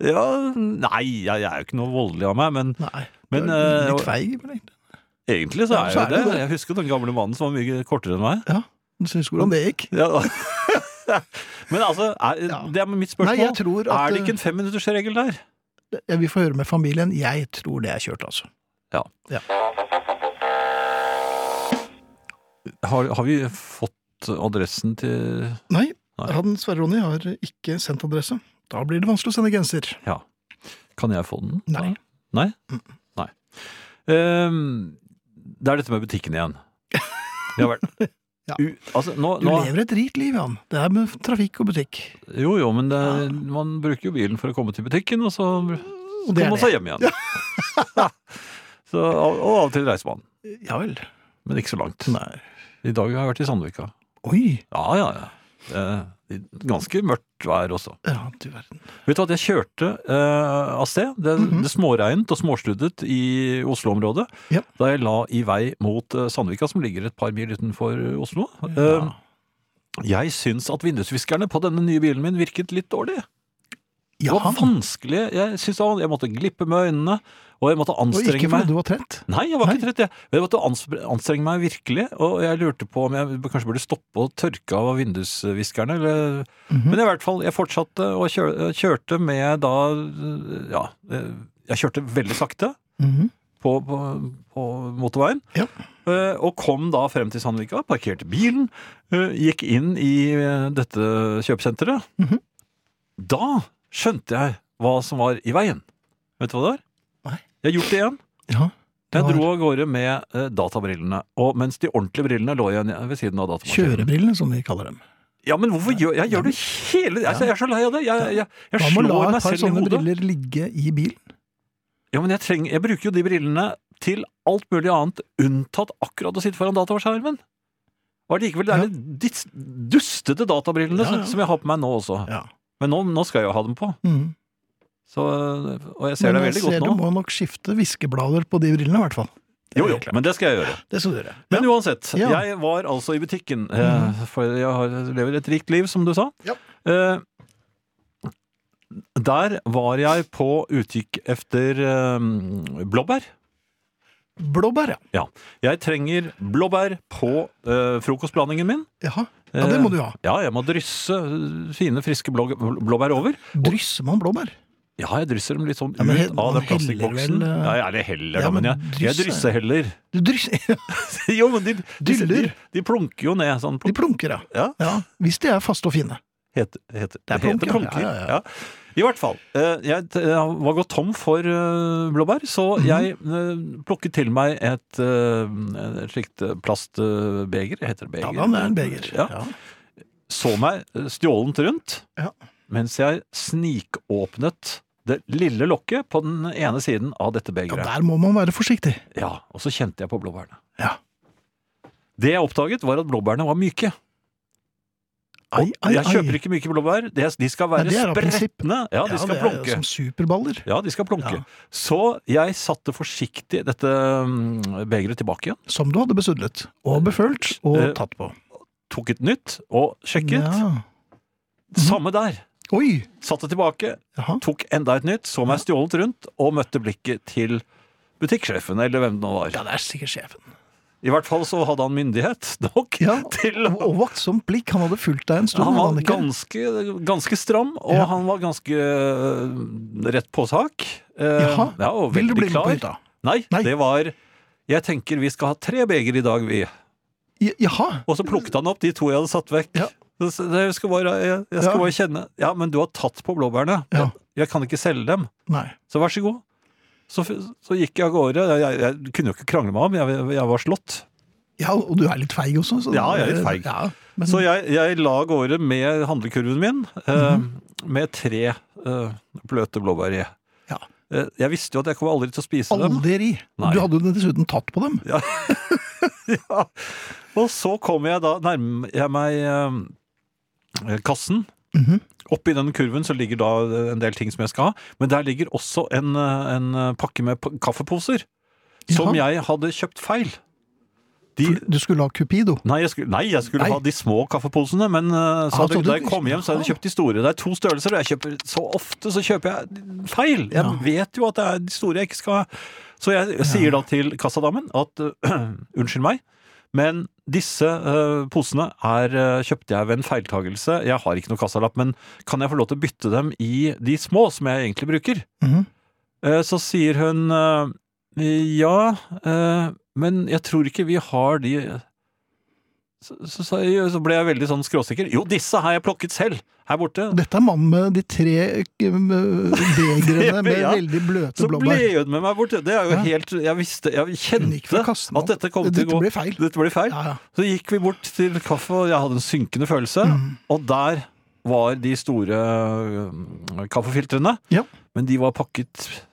Speaker 3: Ja, nei, jeg, jeg er jo ikke noe voldelig av meg, men
Speaker 2: Nei.
Speaker 3: Men,
Speaker 2: du er
Speaker 3: eh,
Speaker 2: litt feig, men egentlig.
Speaker 3: egentlig så
Speaker 2: Ja,
Speaker 3: er
Speaker 2: så
Speaker 3: jeg
Speaker 2: er
Speaker 3: jo
Speaker 2: det
Speaker 3: det.
Speaker 2: det.
Speaker 3: Jeg husker jo den gamle mannen som var mye kortere enn meg.
Speaker 2: Ja. Du syns hvordan det gikk?
Speaker 3: Ja. Men altså, er,
Speaker 2: Ja.
Speaker 3: det er mitt
Speaker 2: Nei,
Speaker 3: spørsmål.
Speaker 2: jeg tror at eh,
Speaker 3: Er det ikke en femminuttersregel der?
Speaker 2: Jeg vil få høre med familien. Jeg tror det er kjørt, altså.
Speaker 3: Har, har vi fått adressen til
Speaker 2: Nei,
Speaker 3: Nei.
Speaker 2: han Sverre Ronny har ikke sendt adresse. Da blir det vanskelig å sende genser.
Speaker 3: Kan jeg få den?
Speaker 2: Nei.
Speaker 3: Nei? Nei. Ehm, det er dette med butikken igjen. Ja vel.
Speaker 2: Ja.
Speaker 3: U, altså, nå,
Speaker 2: Du
Speaker 3: nå,
Speaker 2: lever et rikt liv, Jan. Det er med trafikk og butikk.
Speaker 3: jo, jo, men det, er- man bruker jo bilen for å komme til butikken, og så
Speaker 2: Og Mm, det er
Speaker 3: kommer man seg
Speaker 2: det.
Speaker 3: hjem igjen. så, og, og av og til reiser man.
Speaker 2: Ja vel.
Speaker 3: Men ikke så langt.
Speaker 2: Nei.
Speaker 3: I dag har jeg vært i Sandvika.
Speaker 2: Oi.
Speaker 3: Ja, ja, ja. Eh, ganske mørkt vær også.
Speaker 2: Ja, du verden.
Speaker 3: Vet du at jeg kjørte eh, av sted, det, det småregnet og småsluddet i Oslo-området,
Speaker 2: Ja.
Speaker 3: da jeg la i vei mot eh, Sandvika, som ligger et par mil utenfor eh, Oslo. Eh,
Speaker 2: Ja.
Speaker 3: jeg syns at vindusviskerne på denne nye bilen min virket litt dårlig. Det var
Speaker 2: Jaha.
Speaker 3: vanskelig. Jeg, synes det var, jeg måtte glippe med øynene, og jeg måtte
Speaker 2: Og ikke
Speaker 3: anstrenge meg.
Speaker 2: fordi du var trett.
Speaker 3: Nei, jeg var ikke trett, jeg. Men jeg måtte ans- anstrenge meg virkelig, og jeg lurte på om jeg b- kanskje burde stoppe og tørke av vindusviskerne, eller
Speaker 2: Mhm.
Speaker 3: Men i hvert fall, jeg fortsatte og kjør, kjørte med da Ja, eh, jeg kjørte veldig sakte
Speaker 2: Mhm.
Speaker 3: på, på, på motorveien.
Speaker 2: Ja.
Speaker 3: eh, Og kom da frem til Sandvika, parkerte bilen, eh, gikk inn i eh, dette kjøpesenteret.
Speaker 2: Mhm.
Speaker 3: Da skjønte jeg hva som var i veien. Vet du hva det var?
Speaker 2: Nei.
Speaker 3: Jeg har gjort det igjen.
Speaker 2: Ja. Det
Speaker 3: Jeg
Speaker 2: var-
Speaker 3: dro av gårde med eh, databrillene, og mens de ordentlige brillene lå igjen ved siden av datamaskinen.
Speaker 2: Kjørebrillene, som vi kaller dem.
Speaker 3: Ja, men hvorfor gjør jeg gjør det hele altså, Jeg er så lei av det! Jeg, jeg, jeg,
Speaker 2: Da må
Speaker 3: slår
Speaker 2: la
Speaker 3: meg
Speaker 2: et par
Speaker 3: selv i
Speaker 2: sånne
Speaker 3: hodet.
Speaker 2: briller ligge i bilen.
Speaker 3: Ja, men jeg, trenger, jeg bruker jo de brillene til alt mulig annet, unntatt akkurat å sitte foran dataskjermen. Og allikevel, det er
Speaker 2: Ja.
Speaker 3: de dits- dustete databrillene
Speaker 2: Ja, ja.
Speaker 3: som- som jeg har på meg nå også.
Speaker 2: Ja.
Speaker 3: Men nå, nå skal jeg jo ha dem på,
Speaker 2: Mhm.
Speaker 3: så, og jeg ser
Speaker 2: Men
Speaker 3: deg
Speaker 2: jeg
Speaker 3: veldig
Speaker 2: ser
Speaker 3: godt
Speaker 2: du
Speaker 3: nå.
Speaker 2: må nok skifte viskeblader på de brillene, i hvert fall. Det er
Speaker 3: Jo, jo,
Speaker 2: helt klart.
Speaker 3: men det skal jeg gjøre.
Speaker 2: Det skal du gjøre.
Speaker 3: Men uansett,
Speaker 2: Ja. Mm.
Speaker 3: jeg var altså i butikken, eh, for jeg har, lever et rikt liv, som du sa.
Speaker 2: Ja.
Speaker 3: Eh, Der var jeg på utkikk efter eh, blåbær.
Speaker 2: Blåbær, ja.
Speaker 3: Jeg trenger blåbær på eh, frokostblandingen min.
Speaker 2: Jaha. Ja,
Speaker 3: Eh,
Speaker 2: det må du ha.
Speaker 3: Ja, jeg må drysse eh, fine, friske blå, blåbær over.
Speaker 2: Drysser man blåbær?
Speaker 3: Ja, jeg drysser dem litt sånn
Speaker 2: Ja, men he-
Speaker 3: ut av den
Speaker 2: man heller
Speaker 3: plastikkboksen.
Speaker 2: vel, eh,
Speaker 3: Ja, jeg er det heller,
Speaker 2: Ja,
Speaker 3: da, men
Speaker 2: men
Speaker 3: jeg, jeg
Speaker 2: drysser-
Speaker 3: drysser heller.
Speaker 2: Du drysser,
Speaker 3: jo, men de, de, de,
Speaker 2: Dyller.
Speaker 3: de plunker jo ned sånn.
Speaker 2: De plunker, ja.
Speaker 3: Ja.
Speaker 2: ja. Hvis de er faste og fine.
Speaker 3: Heter, heter,
Speaker 2: Det er
Speaker 3: heter
Speaker 2: plunker, ja,
Speaker 3: plunker. Ja,
Speaker 2: ja, ja.
Speaker 3: I hvert fall. eh, Jeg t- jeg var gått tom for eh, blåbær, så
Speaker 2: Mhm.
Speaker 3: jeg eh, plukket til meg et, eh, et slikt eh, plastbeger. Heter det
Speaker 2: Ja
Speaker 3: beger?
Speaker 2: da, det er en beger.
Speaker 3: Ja. Så meg eh, stjålent rundt,
Speaker 2: Ja.
Speaker 3: mens jeg snikåpnet det lille lokket på den ene siden av dette
Speaker 2: Ja,
Speaker 3: begeret.
Speaker 2: der må man være forsiktig.
Speaker 3: Ja, og så kjente jeg på blåbærene.
Speaker 2: Ja.
Speaker 3: Det jeg oppdaget, var at blåbærene var myke.
Speaker 2: Ai,
Speaker 3: Og
Speaker 2: ai,
Speaker 3: jeg kjøper
Speaker 2: ai.
Speaker 3: ikke myke blåbær. De de skal
Speaker 2: Nei,
Speaker 3: være
Speaker 2: det er av prinsipp.
Speaker 3: spretne. Ja, de skal
Speaker 2: det er
Speaker 3: plunke.
Speaker 2: Som superballer.
Speaker 3: Ja, de skal plunke.
Speaker 2: Ja.
Speaker 3: Så jeg satte forsiktig dette mm, begeret tilbake igjen,
Speaker 2: Som du hadde besudlet. Og befølt. Og
Speaker 3: Eh,
Speaker 2: tatt på.
Speaker 3: tok et nytt og sjekket. Mhm.
Speaker 2: Ja.
Speaker 3: Samme der.
Speaker 2: Oi!
Speaker 3: Satte tilbake,
Speaker 2: Jaha.
Speaker 3: tok enda et nytt, så meg stjålet rundt og møtte blikket til butikksjefen, eller hvem det nå
Speaker 2: Ja,
Speaker 3: var.
Speaker 2: det er sikkert sjefen.
Speaker 3: I hvert fall så hadde han myndighet nok
Speaker 2: Ja,
Speaker 3: til å
Speaker 2: Og vaktsomt blikk. Han hadde fulgt deg en stund.
Speaker 3: Han var
Speaker 2: hadde han ikke?
Speaker 3: ganske, ganske stram, og
Speaker 2: Ja.
Speaker 3: han var ganske øh, rett på sak. Eh,
Speaker 2: Jaha.
Speaker 3: ja, og
Speaker 2: Vil du
Speaker 3: veldig
Speaker 2: bli med
Speaker 3: klar.
Speaker 2: på hytta?
Speaker 3: Nei,
Speaker 2: Nei.
Speaker 3: det var Jeg tenker vi skal ha tre beger i dag, vi.
Speaker 2: Ja, Jaha.
Speaker 3: Og så plukket han opp de to jeg hadde satt vekk.
Speaker 2: Ja.
Speaker 3: Så Jeg skal bare, jeg, jeg
Speaker 2: Ja.
Speaker 3: skal bare kjenne Ja, men du har tatt på blåbærene.
Speaker 2: Ja.
Speaker 3: Jeg kan ikke selge dem.
Speaker 2: Nei.
Speaker 3: Så vær så god. Så, f- så gikk jeg av gårde. Jeg, jeg, jeg kunne jo ikke krangle meg om, jeg, jeg var slått.
Speaker 2: Ja, og du er litt feig også. Så Eh,
Speaker 3: Ja, jeg er litt feig.
Speaker 2: Ja, men,
Speaker 3: Så jeg, jeg la av gårde med handlekurven min, eh,
Speaker 2: Mhm.
Speaker 3: med tre eh, bløte blåbær i.
Speaker 2: Ja.
Speaker 3: Eh, jeg visste jo at jeg kom aldri til å spise dem.
Speaker 2: aldri.
Speaker 3: Nei.
Speaker 2: Du hadde jo dessuten tatt på dem.
Speaker 3: Ja. Og så kom jeg da, nærmer jeg meg eh, kassen.
Speaker 2: Mhm.
Speaker 3: Oppi den kurven så ligger da eh, en del ting som jeg skal ha, men der ligger også en, eh, en pakke med p- kaffeposer. Som
Speaker 2: Jaha.
Speaker 3: jeg hadde kjøpt feil. De,
Speaker 2: For Du skulle ha Cupido.
Speaker 3: Nei, jeg skulle, nei, jeg skulle
Speaker 2: Nei.
Speaker 3: ha de små kaffeposene, men eh,
Speaker 2: Ah,
Speaker 3: så hadde,
Speaker 2: så du-
Speaker 3: da jeg kom hjem, så hadde jeg kjøpt de store. Det er to størrelser, og jeg kjøper så ofte så kjøper jeg feil. Jeg
Speaker 2: Ja.
Speaker 3: vet jo at det er de store jeg ikke skal ha. Så jeg, sier da til kassadamen at eh, unnskyld meg, men disse eh, posene er, eh, kjøpte jeg ved en feiltagelse. Jeg har ikke noe kassalapp, men kan jeg få lov til å bytte dem i de små som jeg egentlig bruker?
Speaker 2: Mhm.
Speaker 3: Eh, Så sier hun eh, ja, eh, men jeg tror ikke vi har de så, så, sa jeg, så ble jeg veldig sånn skråsikker. Jo, disse har jeg plukket selv her borte.
Speaker 2: Og Dette er mannen med de tre eh, begrene med
Speaker 3: Ja.
Speaker 2: veldig bløte
Speaker 3: Så ble
Speaker 2: blåbær.
Speaker 3: hun med meg borte. Det er jo
Speaker 2: Ja.
Speaker 3: helt Jeg visste, jeg
Speaker 2: Hun gikk
Speaker 3: kjente
Speaker 2: fra kassen
Speaker 3: at dette kom til
Speaker 2: Dette
Speaker 3: å gå
Speaker 2: ble feil.
Speaker 3: Dette blir feil.
Speaker 2: Ja, ja.
Speaker 3: Så gikk vi bort til kaffe, og jeg hadde en synkende følelse.
Speaker 2: Mm.
Speaker 3: Og der var de store øh, kaffefiltrene.
Speaker 2: Ja.
Speaker 3: Men de var pakket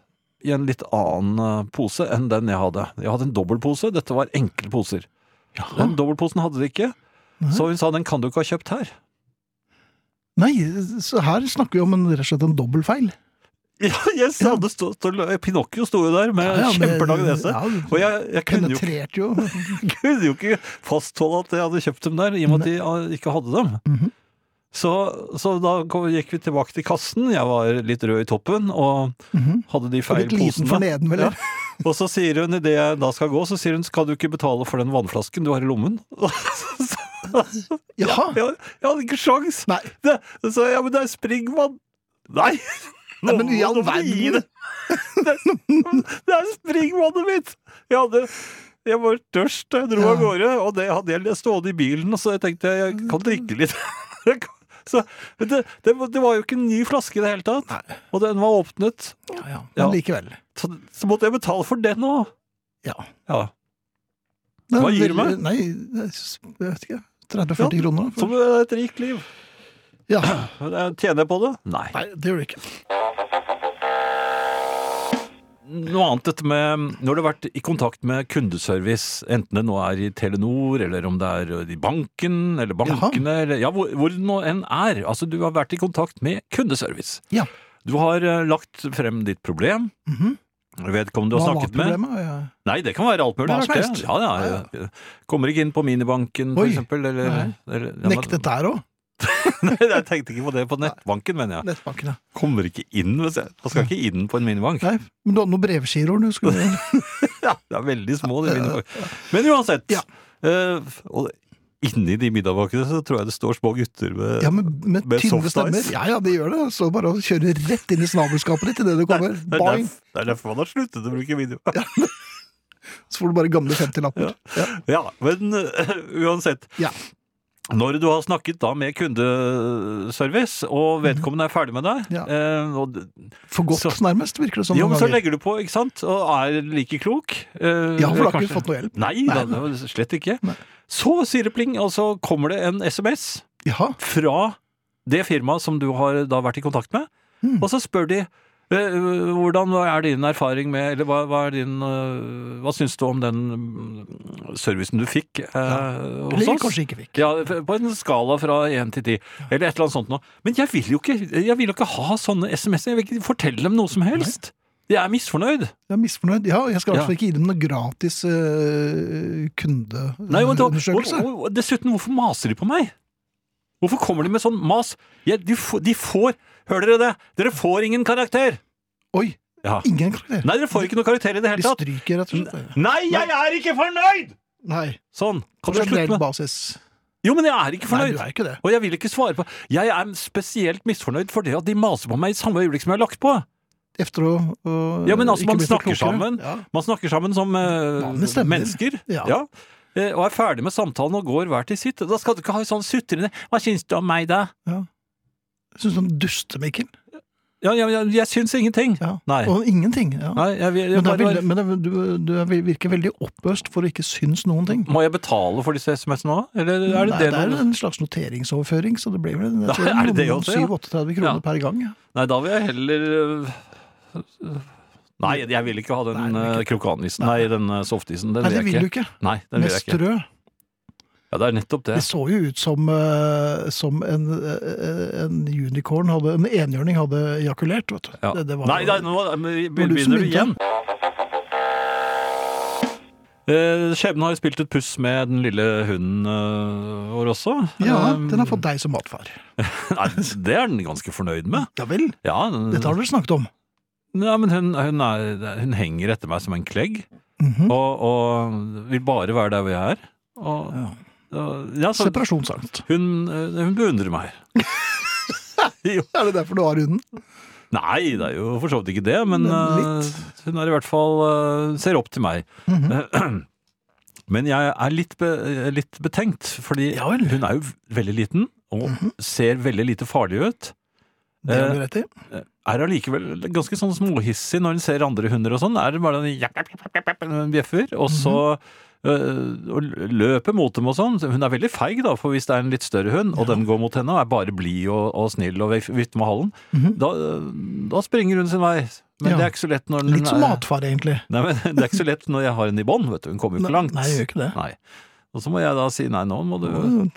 Speaker 3: i en litt annen øh, pose enn den jeg hadde. Jeg hadde en dobbeltpose. Dette var enkle poser. Den dobbeltposen hadde de ikke.
Speaker 2: Nei.
Speaker 3: Så hun sa den kan du ikke ha kjøpt her.
Speaker 2: Nei, så her snakker vi om en, rett og slett en dobbeltfeil.
Speaker 3: Ja, jeg sa, det stod, stod, Pinocchio sto jo der med
Speaker 2: Ja, ja, men-
Speaker 3: kjempelang nese.
Speaker 2: ja,
Speaker 3: Og jeg, jeg kunne, jo,
Speaker 2: Penetrerte jo.
Speaker 3: kunne jo ikke fastholde at jeg hadde kjøpt dem der, i og med at de ah, ikke hadde dem.
Speaker 2: Mhm.
Speaker 3: Så, så da kom- gikk vi tilbake til kassen. Jeg var litt rød i toppen og
Speaker 2: Mhm.
Speaker 3: hadde de feil
Speaker 2: Litt liten for
Speaker 3: posene.
Speaker 2: neden, vel?
Speaker 3: Og så sier hun idet jeg da skal gå, så sier hun skal du ikke betale for den vannflasken du har i lommen?
Speaker 2: Jaha.
Speaker 3: jeg, jeg hadde ikke sjans!
Speaker 2: Nei.
Speaker 3: Det, så ja, men det er springvann! Nei!
Speaker 2: Nei, men i all
Speaker 3: Nå må du gi
Speaker 2: verden.
Speaker 3: det. Det, er- det er springvannet mitt! Jeg hadde jeg var tørst da jeg dro av
Speaker 2: Ja. Mm.
Speaker 3: gårde, og det hadde jeg stående i bilen. Og så jeg tenkte jeg jeg kan drikke litt. Jeg kan- Så, men det, det, var- det var jo ikke en ny flaske i det hele tatt. Og den var åpnet.
Speaker 2: Ja, ja.
Speaker 3: Ja.
Speaker 2: Men likevel.
Speaker 3: Så, så måtte jeg betale for den òg.
Speaker 2: Ja.
Speaker 3: Ja.
Speaker 2: Det er
Speaker 3: Hva gir du
Speaker 2: veldig-
Speaker 3: meg?
Speaker 2: Nei, jeg s- jeg vet ikke. 30-40
Speaker 3: Ja,
Speaker 2: kroner?
Speaker 3: Som er et rikt liv.
Speaker 2: Mm. Ja.
Speaker 3: Men jeg- Tjener jeg på det? Nei.
Speaker 2: Nei, det gjør du ikke.
Speaker 3: Noe annet dette med Når du har vært i kontakt med kundeservice, enten det nå er i Telenor, eller om det er i banken, eller bankene, eller ja, hvor, hvor det nå enn er. Altså, du har vært i kontakt med kundeservice.
Speaker 2: Ja.
Speaker 3: Du har eh, lagt frem ditt problem.
Speaker 2: Mhm.
Speaker 3: Vedkommende du har
Speaker 2: Hva var
Speaker 3: snakket med.
Speaker 2: problemet? Ja.
Speaker 3: Nei, det kan være alt mulig.
Speaker 2: Hva
Speaker 3: rart,
Speaker 2: som
Speaker 3: det.
Speaker 2: helst.
Speaker 3: Ja, ja, ja. Kommer ikke inn på minibanken, for
Speaker 2: Oi.
Speaker 3: eksempel. Eller, eller, ja, men-
Speaker 2: Nektet der òg?
Speaker 3: Nei, jeg tenkte ikke på det på nettbanken, mener jeg.
Speaker 2: Nettbankene.
Speaker 3: Kommer ikke inn, hvis jeg. Man skal ikke inn på en minibank.
Speaker 2: Nei, men du hadde noen brevgiroer du skulle
Speaker 3: Ja, det er veldig små de middagene. Men uansett.
Speaker 2: Ja.
Speaker 3: eh, og inni de middagene så tror jeg det står små gutter med
Speaker 2: Ja, med, med
Speaker 3: Med
Speaker 2: tynne
Speaker 3: soft
Speaker 2: stemmer.
Speaker 3: ice.
Speaker 2: Ja, ja, det gjør det. Så bare å kjøre rett inn i snabelskapet ditt idet du
Speaker 3: det, er,
Speaker 2: kommer.
Speaker 3: det, er
Speaker 2: Boing!
Speaker 3: derfor, det er derfor man har sluttet å bruke video. Ja,
Speaker 2: Så får du bare gamle 50-lapper. Ja.
Speaker 3: Men eh, uansett.
Speaker 2: Ja.
Speaker 3: Når du har snakket da med kundeservice, og vedkommende er ferdig med deg,
Speaker 2: Mhm. Ja.
Speaker 3: eh, og,
Speaker 2: For godt,
Speaker 3: Så-
Speaker 2: nærmest, virker det som.
Speaker 3: jo,
Speaker 2: noen
Speaker 3: men så
Speaker 2: ganger.
Speaker 3: legger du på, ikke sant, og er like klok. eh,
Speaker 2: Ja, for da har ikke du
Speaker 3: kanskje-
Speaker 2: fått noe hjelp.
Speaker 3: Nei,
Speaker 2: Nei.
Speaker 3: da, det var slett ikke.
Speaker 2: Nei.
Speaker 3: Så sier det pling, og så kommer det en SMS.
Speaker 2: Jaha.
Speaker 3: fra det firmaet som du har da vært i kontakt med,
Speaker 2: Mm.
Speaker 3: og så spør de eh, hvordan er din erfaring med Eller hva, hva, er din, eh, hva syns du om den mm, servicen du fikk eh, hos
Speaker 2: Eller
Speaker 3: oss?
Speaker 2: kanskje ikke fikk.
Speaker 3: Ja, f- på en skala fra 1 til 10, eller et eller annet sånt noe. Men jeg vil jo ikke, jeg vil jo ikke ha sånne SMS-er. Jeg vil ikke fortelle dem noe som helst. Jeg er misfornøyd.
Speaker 2: Jeg er misfornøyd. Ja, jeg skal i
Speaker 3: Ja.
Speaker 2: hvert fall ikke gi dem noe gratis øh,
Speaker 3: Nei, og, da-
Speaker 2: kundeundersøkelse.
Speaker 3: og, og, og dessuten, hvorfor maser de på meg? Hvorfor kommer de med sånn mas? Jeg, de, får- de får Hører dere det? Dere får ingen karakter!
Speaker 2: Oi,
Speaker 3: Ja.
Speaker 2: ingen karakter.
Speaker 3: Nei, dere får ikke noe karakter i det
Speaker 2: De
Speaker 3: hele tatt.
Speaker 2: stryker, rett og slett.
Speaker 3: Nei, jeg er ikke fornøyd!
Speaker 2: Nei.
Speaker 3: Sånn.
Speaker 2: På
Speaker 3: Kan du slutte
Speaker 2: generell
Speaker 3: med
Speaker 2: basis.
Speaker 3: Jo, men jeg er ikke
Speaker 2: Nei, du
Speaker 3: fornøyd.
Speaker 2: er ikke det.
Speaker 3: Og jeg vil ikke svare på Jeg er spesielt misfornøyd for det at de maser på meg i samme øyeblikk som jeg har lagt på.
Speaker 2: Efter å, å
Speaker 3: Ja, men altså,
Speaker 2: ikke
Speaker 3: man
Speaker 2: bli for
Speaker 3: snakker
Speaker 2: klokere.
Speaker 3: sammen.
Speaker 2: Ja.
Speaker 3: Man snakker sammen som eh,
Speaker 2: Vanlige stemmer.
Speaker 3: mennesker.
Speaker 2: Ja.
Speaker 3: eh, og er ferdig med samtalen og går hver til sitt. Da skal du ikke ha sånn sutrende 'Hva syns du om meg, da?'
Speaker 2: Syns du om duste, Mikkel?
Speaker 3: Ja, ja, ja jeg syns ingenting.
Speaker 2: Ja.
Speaker 3: Nei.
Speaker 2: Og ingenting. Ja.
Speaker 3: Nei, jeg, vil- jeg,
Speaker 2: Men, det er
Speaker 3: bare,
Speaker 2: veldig- men det, du, du er- virker veldig oppøst for å ikke synes noen ting.
Speaker 3: Må jeg betale for disse SMS-ene òg, eller er det
Speaker 2: Nei,
Speaker 3: det?
Speaker 2: er
Speaker 3: noe-
Speaker 2: en slags noteringsoverføring, så det blir vel jeg tror
Speaker 3: Nei, er
Speaker 2: noen
Speaker 3: det det også, ja?
Speaker 2: 37 kroner
Speaker 3: Ja.
Speaker 2: per gang. Ja.
Speaker 3: Nei, da vil jeg heller øh, øh, Nei, jeg vil ikke ha den
Speaker 2: Nei, det vil
Speaker 3: øh, krokanisen. Nei, den øh, softisen. Den
Speaker 2: Nei, det
Speaker 3: vil
Speaker 2: vil
Speaker 3: jeg
Speaker 2: du
Speaker 3: ikke.
Speaker 2: ikke.
Speaker 3: Nei, den
Speaker 2: Med
Speaker 3: vil jeg ikke.
Speaker 2: strø.
Speaker 3: Ja, det er nettopp det.
Speaker 2: Det så jo ut som, eh, som en, eh, en unicorn hadde En enhjørning hadde ejakulert, vet du.
Speaker 3: Ja.
Speaker 2: Det, det var,
Speaker 3: nei, nei, nå men
Speaker 2: var du som
Speaker 3: begynner du
Speaker 2: begynte.
Speaker 3: igjen. Eh, Skjebnen har jo spilt et puss med den lille hunden eh, vår også.
Speaker 2: Ja,
Speaker 3: Eh,
Speaker 2: den har fått deg som matfar.
Speaker 3: Nei, det er den ganske fornøyd med.
Speaker 2: Ja vel,
Speaker 3: Ja, den,
Speaker 2: dette har dere snakket om.
Speaker 3: Nei, men hun, hun, er, hun henger etter meg som en klegg,
Speaker 2: Mhm.
Speaker 3: og, og vil bare være der hvor jeg er. Og,
Speaker 2: Ja.
Speaker 3: og- ja, så,
Speaker 2: Separasjonsangst.
Speaker 3: hun, eh, hun beundrer meg. jo.
Speaker 2: Er det derfor du har hunden?
Speaker 3: Nei, det er jo for så vidt ikke det, men
Speaker 2: Men
Speaker 3: eh, hun er i hvert fall eh, ser opp til meg.
Speaker 2: Mhm.
Speaker 3: Men jeg er litt, be, litt betenkt, fordi
Speaker 2: Ja vel. Mhm.
Speaker 3: hun er jo veldig liten, og ser veldig lite farlig ut.
Speaker 2: Det har
Speaker 3: Eh,
Speaker 2: du rett i.
Speaker 3: er allikevel ganske sånn småhissig når hun ser andre hunder og sånn. Er det bare en jap, jap, jap, jap, jap, en bjeffer, og
Speaker 2: Mhm.
Speaker 3: så øh, og løper mot dem og sånn. Hun er veldig feig, da, for hvis det er en litt større hund, og den går mot henne og er bare blid og, og snill og vif- vifter med halen,
Speaker 2: Mhm.
Speaker 3: da, øh, da springer hun sin vei. Men
Speaker 2: Ja.
Speaker 3: det er ikke så lett når hun
Speaker 2: Litt som
Speaker 3: er-
Speaker 2: matfar, egentlig.
Speaker 3: Nei, men det er ikke så lett når jeg har henne i bånd, vet du. Hun kommer jo ikke langt.
Speaker 2: Nei, jeg gjør ikke det.
Speaker 3: Nei. Og så må jeg da si nei, nå må du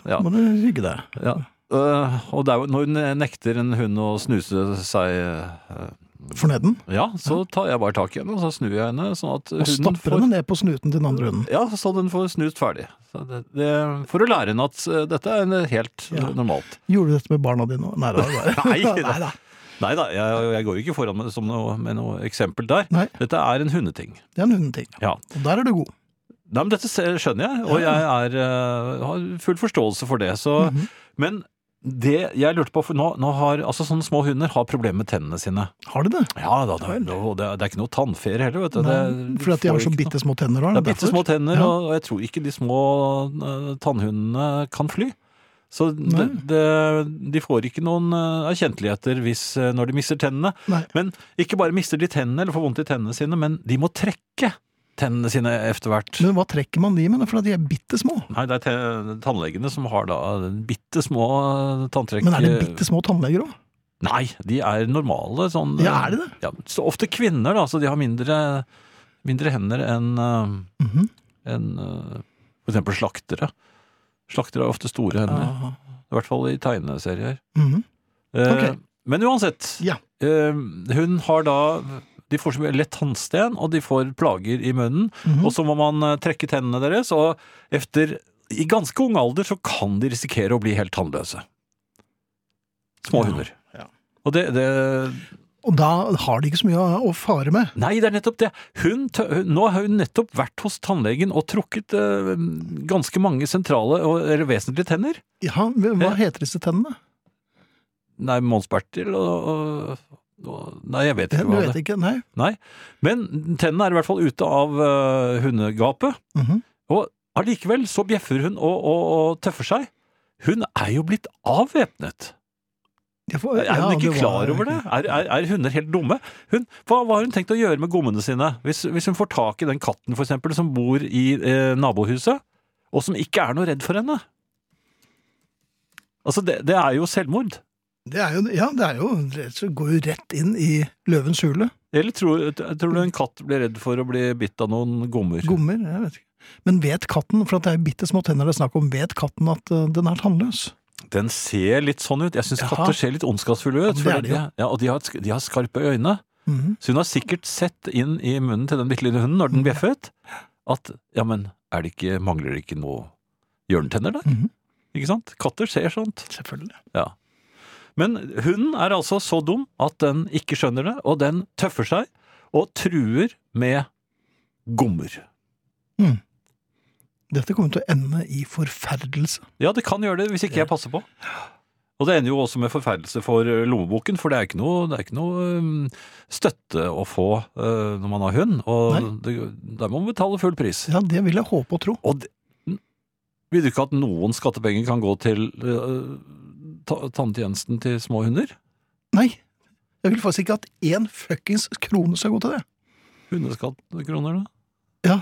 Speaker 2: Da
Speaker 3: ja.
Speaker 2: må du rygge deg.
Speaker 3: Ja. Øh, og det er jo når hun nekter en hund å snuse seg øh,
Speaker 2: Fornøyd den,
Speaker 3: ja, så tar jeg bare tak i henne, og så snur jeg henne sånn at
Speaker 2: og
Speaker 3: hunden
Speaker 2: stapper
Speaker 3: får
Speaker 2: henne ned på snuten til den andre hunden.
Speaker 3: ja, så den får snust ferdig. Så det, det, for å lære henne at eh, dette er en helt
Speaker 2: Ja.
Speaker 3: normalt.
Speaker 2: Gjorde du dette med barna dine òg? Nei, det var bare-
Speaker 3: Nei, det-
Speaker 2: Neida.
Speaker 3: Nei da, jeg, jeg går jo ikke foran med, som noe, med noe eksempel der.
Speaker 2: Nei.
Speaker 3: Dette er en hundeting.
Speaker 2: Det er en hundeting.
Speaker 3: Ja.
Speaker 2: Og der er du god.
Speaker 3: Nei, men dette se- skjønner jeg, og jeg er, eh, har full forståelse for det. Så,
Speaker 2: Mhm.
Speaker 3: Men det jeg lurte på, for nå, nå har altså sånne små hunder har problemer med tennene sine.
Speaker 2: Har de det?
Speaker 3: Ja da, det, er- og det, er- det er ikke noe tannfere heller, vet du.
Speaker 2: Nei,
Speaker 3: Det-
Speaker 2: Fordi at de
Speaker 3: får
Speaker 2: har så
Speaker 3: ikke noe-
Speaker 2: bitte små tenner? har de
Speaker 3: Det er
Speaker 2: derfor?
Speaker 3: bitte små tenner,
Speaker 2: Ja.
Speaker 3: og og jeg tror ikke de små eh, tannhundene kan fly. Så det,
Speaker 2: Nei.
Speaker 3: det, de får ikke noen eh, erkjenteligheter hvis, eh, når de mister tennene.
Speaker 2: Nei.
Speaker 3: Men ikke bare mister de tennene eller får vondt i tennene sine, men de må trekke tennene sine etter hvert.
Speaker 2: Men hva trekker man de med? da? For at de er bitte små.
Speaker 3: Nei, det er te tannlegene som har da bitte små eh, tanntrekk.
Speaker 2: Men er det bitte små tannleger òg?
Speaker 3: Nei, de er normale. Sånn,
Speaker 2: Ja, er de det?
Speaker 3: Ja, så ofte kvinner, da, så de har mindre, mindre hender enn eh,
Speaker 2: Mhm.
Speaker 3: enn eh, for eksempel slaktere. Slaktere har ofte store hender, i hvert fall i tegneserier.
Speaker 2: Mhm.
Speaker 3: Eh,
Speaker 2: Ok.
Speaker 3: Men uansett,
Speaker 2: Ja.
Speaker 3: eh, hun har da de får så mye lett tannsten, og de får plager i munnen.
Speaker 2: Mhm. Mm.
Speaker 3: Og så må man eh, trekke tennene deres, og efter, i ganske ung alder så kan de risikere å bli helt tannløse.
Speaker 2: Ja,
Speaker 3: Små hunder.
Speaker 2: ja.
Speaker 3: Og det, det,
Speaker 2: Og da har de ikke så mye å- å fare med.
Speaker 3: Nei, det er nettopp det. Hun, tø- hun- nå har hun nettopp vært hos tannlegen og trukket eh, ganske mange sentrale og eller vesentlige tenner.
Speaker 2: Ja, men
Speaker 3: Ja.
Speaker 2: Hva heter disse tennene?
Speaker 3: Nei, Mons Bertil og, og, og Nei, jeg vet
Speaker 2: Det,
Speaker 3: ikke
Speaker 2: du
Speaker 3: hva
Speaker 2: vet
Speaker 3: det
Speaker 2: ikke? Nei.
Speaker 3: Nei. Men tennene er i hvert fall ute av eh, hundegapet.
Speaker 2: Mhm.
Speaker 3: Og allikevel så bjeffer hun og, og, og tøffer seg. Hun er jo blitt avvæpnet.
Speaker 2: Ja, for-
Speaker 3: Er hun
Speaker 2: ja,
Speaker 3: ikke
Speaker 2: var-
Speaker 3: klar over det? Er, er, er hunder helt dumme? Hun, hva, hva har hun tenkt å gjøre med gommene sine? Hvis, hvis hun får tak i den katten for eksempel, som bor i eh, nabohuset, og som ikke er noe redd for henne? Altså, det, det er jo selvmord.
Speaker 2: det er jo, ja, det er jo det går jo rett inn i løvens hule.
Speaker 3: Eller tror, tror du en katt blir redd for å bli bitt av noen gommer?
Speaker 2: Gommer, jeg vet ikke. Men vet katten, for at det er jo bitte små tenner det er snakk om, vet katten at eh, den er tannløs?
Speaker 3: Den ser litt sånn ut. Jeg syns
Speaker 2: Jaha.
Speaker 3: katter ser litt ondskapsfulle
Speaker 2: Ja,
Speaker 3: ut.
Speaker 2: det
Speaker 3: for
Speaker 2: er de jo.
Speaker 3: de- ja, og de har, et sk- de har skarpe øyne.
Speaker 2: Mhm.
Speaker 3: Så hun har sikkert sett inn i munnen til den bitte lille hunden når den bjeffet, at ja, men er det ikke, mangler det ikke noe hjørnetenner der?
Speaker 2: Mhm.
Speaker 3: Ikke sant? Katter ser sånt.
Speaker 2: Selvfølgelig.
Speaker 3: Ja. Men hunden er altså så dum at den ikke skjønner det, og den tøffer seg og truer med gommer.
Speaker 2: Dette kommer til å ende i forferdelse.
Speaker 3: Ja, det kan gjøre det hvis ikke jeg passer på. Og det ender jo også med forferdelse for eh, lommeboken, for det er ikke noe, det er ikke noe eh, støtte å få eh, når man har hund, og det, der må man betale full pris.
Speaker 2: Ja, det vil jeg håpe og tro.
Speaker 3: Og det, Vil du ikke at noen skattepenger kan gå til eh, ta tanntjenesten til små hunder?
Speaker 2: Nei. Jeg vil faktisk ikke at én fuckings krone skal gå til det.
Speaker 3: Hundeskattkroner, da?
Speaker 2: Ja.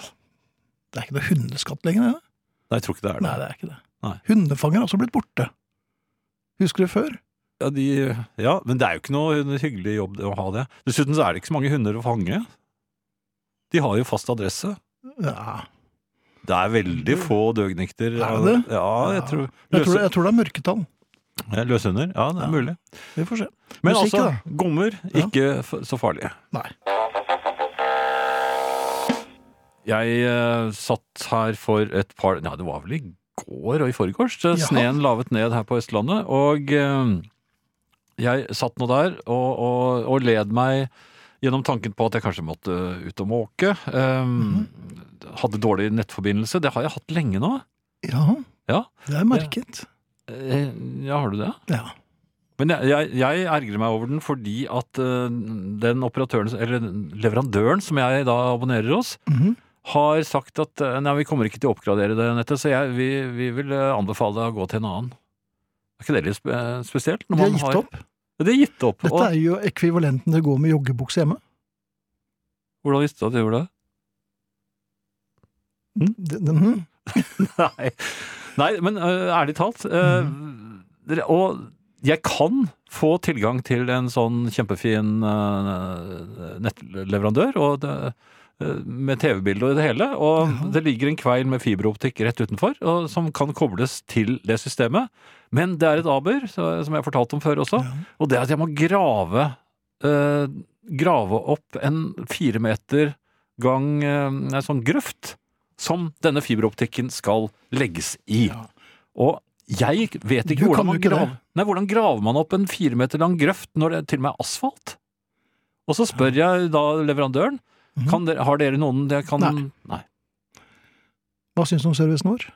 Speaker 2: Det er ikke noe hundeskatt lenger, det.
Speaker 3: Nei, jeg tror ikke det er det.
Speaker 2: Nei, det er ikke det.
Speaker 3: Nei.
Speaker 2: Hundefanger er også blitt borte. Husker du før?
Speaker 3: Ja, de, ja, men det er jo ikke noe hyggelig jobb det å ha det. Dessuten så er det ikke så mange hunder å fange. De har jo fast adresse.
Speaker 2: Ja.
Speaker 3: Det er veldig få døgnikter.
Speaker 2: Mm. Er det det?
Speaker 3: Ja, jeg tror,
Speaker 2: Jeg tror,
Speaker 3: løse,
Speaker 2: det- jeg tror det er mørketall.
Speaker 3: ja, Løshunder? Ja, det er
Speaker 2: Ja.
Speaker 3: mulig.
Speaker 2: Vi får se.
Speaker 3: Men
Speaker 2: Musikk,
Speaker 3: altså,
Speaker 2: da?
Speaker 3: gommer
Speaker 2: Ja.
Speaker 3: ikke f- så farlige.
Speaker 2: Nei.
Speaker 3: Jeg eh, satt her for et par Ja, det var vel i går og i forgårs. så
Speaker 2: Ja.
Speaker 3: Sneen lavet ned her på Østlandet, og eh, jeg satt nå der og, og, og led meg gjennom tanken på at jeg kanskje måtte ut og måke. Eh,
Speaker 2: Mhm.
Speaker 3: Hadde dårlig nettforbindelse. Det har jeg hatt lenge nå.
Speaker 2: Ja,
Speaker 3: Ja,
Speaker 2: det er merket.
Speaker 3: Eh, ja har du det?
Speaker 2: Ja.
Speaker 3: Men jeg, jeg, jeg ergrer meg over den fordi at eh, den operatøren, eller leverandøren som jeg da abonnerer hos,
Speaker 2: Mhm.
Speaker 3: har sagt at eh, nei, vi kommer ikke til å oppgradere det nettet, så jeg, vi, vi vil eh, anbefale deg å gå til en annen. Er ikke det litt spe eh, spesielt?
Speaker 2: De har gitt opp.
Speaker 3: Ja, de har gitt opp.
Speaker 2: Dette
Speaker 3: Og,
Speaker 2: er jo ekvivalenten til å gå med joggebukse hjemme.
Speaker 3: Hvordan visste du at de gjorde det? Mm.
Speaker 2: Det- det- mhm.
Speaker 3: Nei, Nei men eh, ærlig talt eh, dere- Og jeg kan få tilgang til en sånn kjempefin eh, nettleverandør og det, eh, med TV-bilde og det hele. Og det ligger en kveil med fiberoptikk rett utenfor og, som kan kobles til det systemet. Men det er et aber, så- som jeg fortalte om før også. Og det at jeg må grave eh, Grave opp en fire meter gang eh, en sånn grøft som denne fiberoptikken skal legges i.
Speaker 2: Ja.
Speaker 3: Og jeg vet
Speaker 2: Du
Speaker 3: ikke hvordan
Speaker 2: kan
Speaker 3: man
Speaker 2: jo ikke
Speaker 3: graver Nei, hvordan graver man opp en fire meter lang grøft når det til og med er asfalt? Og så spør jeg da leverandøren
Speaker 2: Mhm.
Speaker 3: kan dere, Har dere noen jeg kan
Speaker 2: Nei.
Speaker 3: Nei.
Speaker 2: Hva syns du om servicen vår?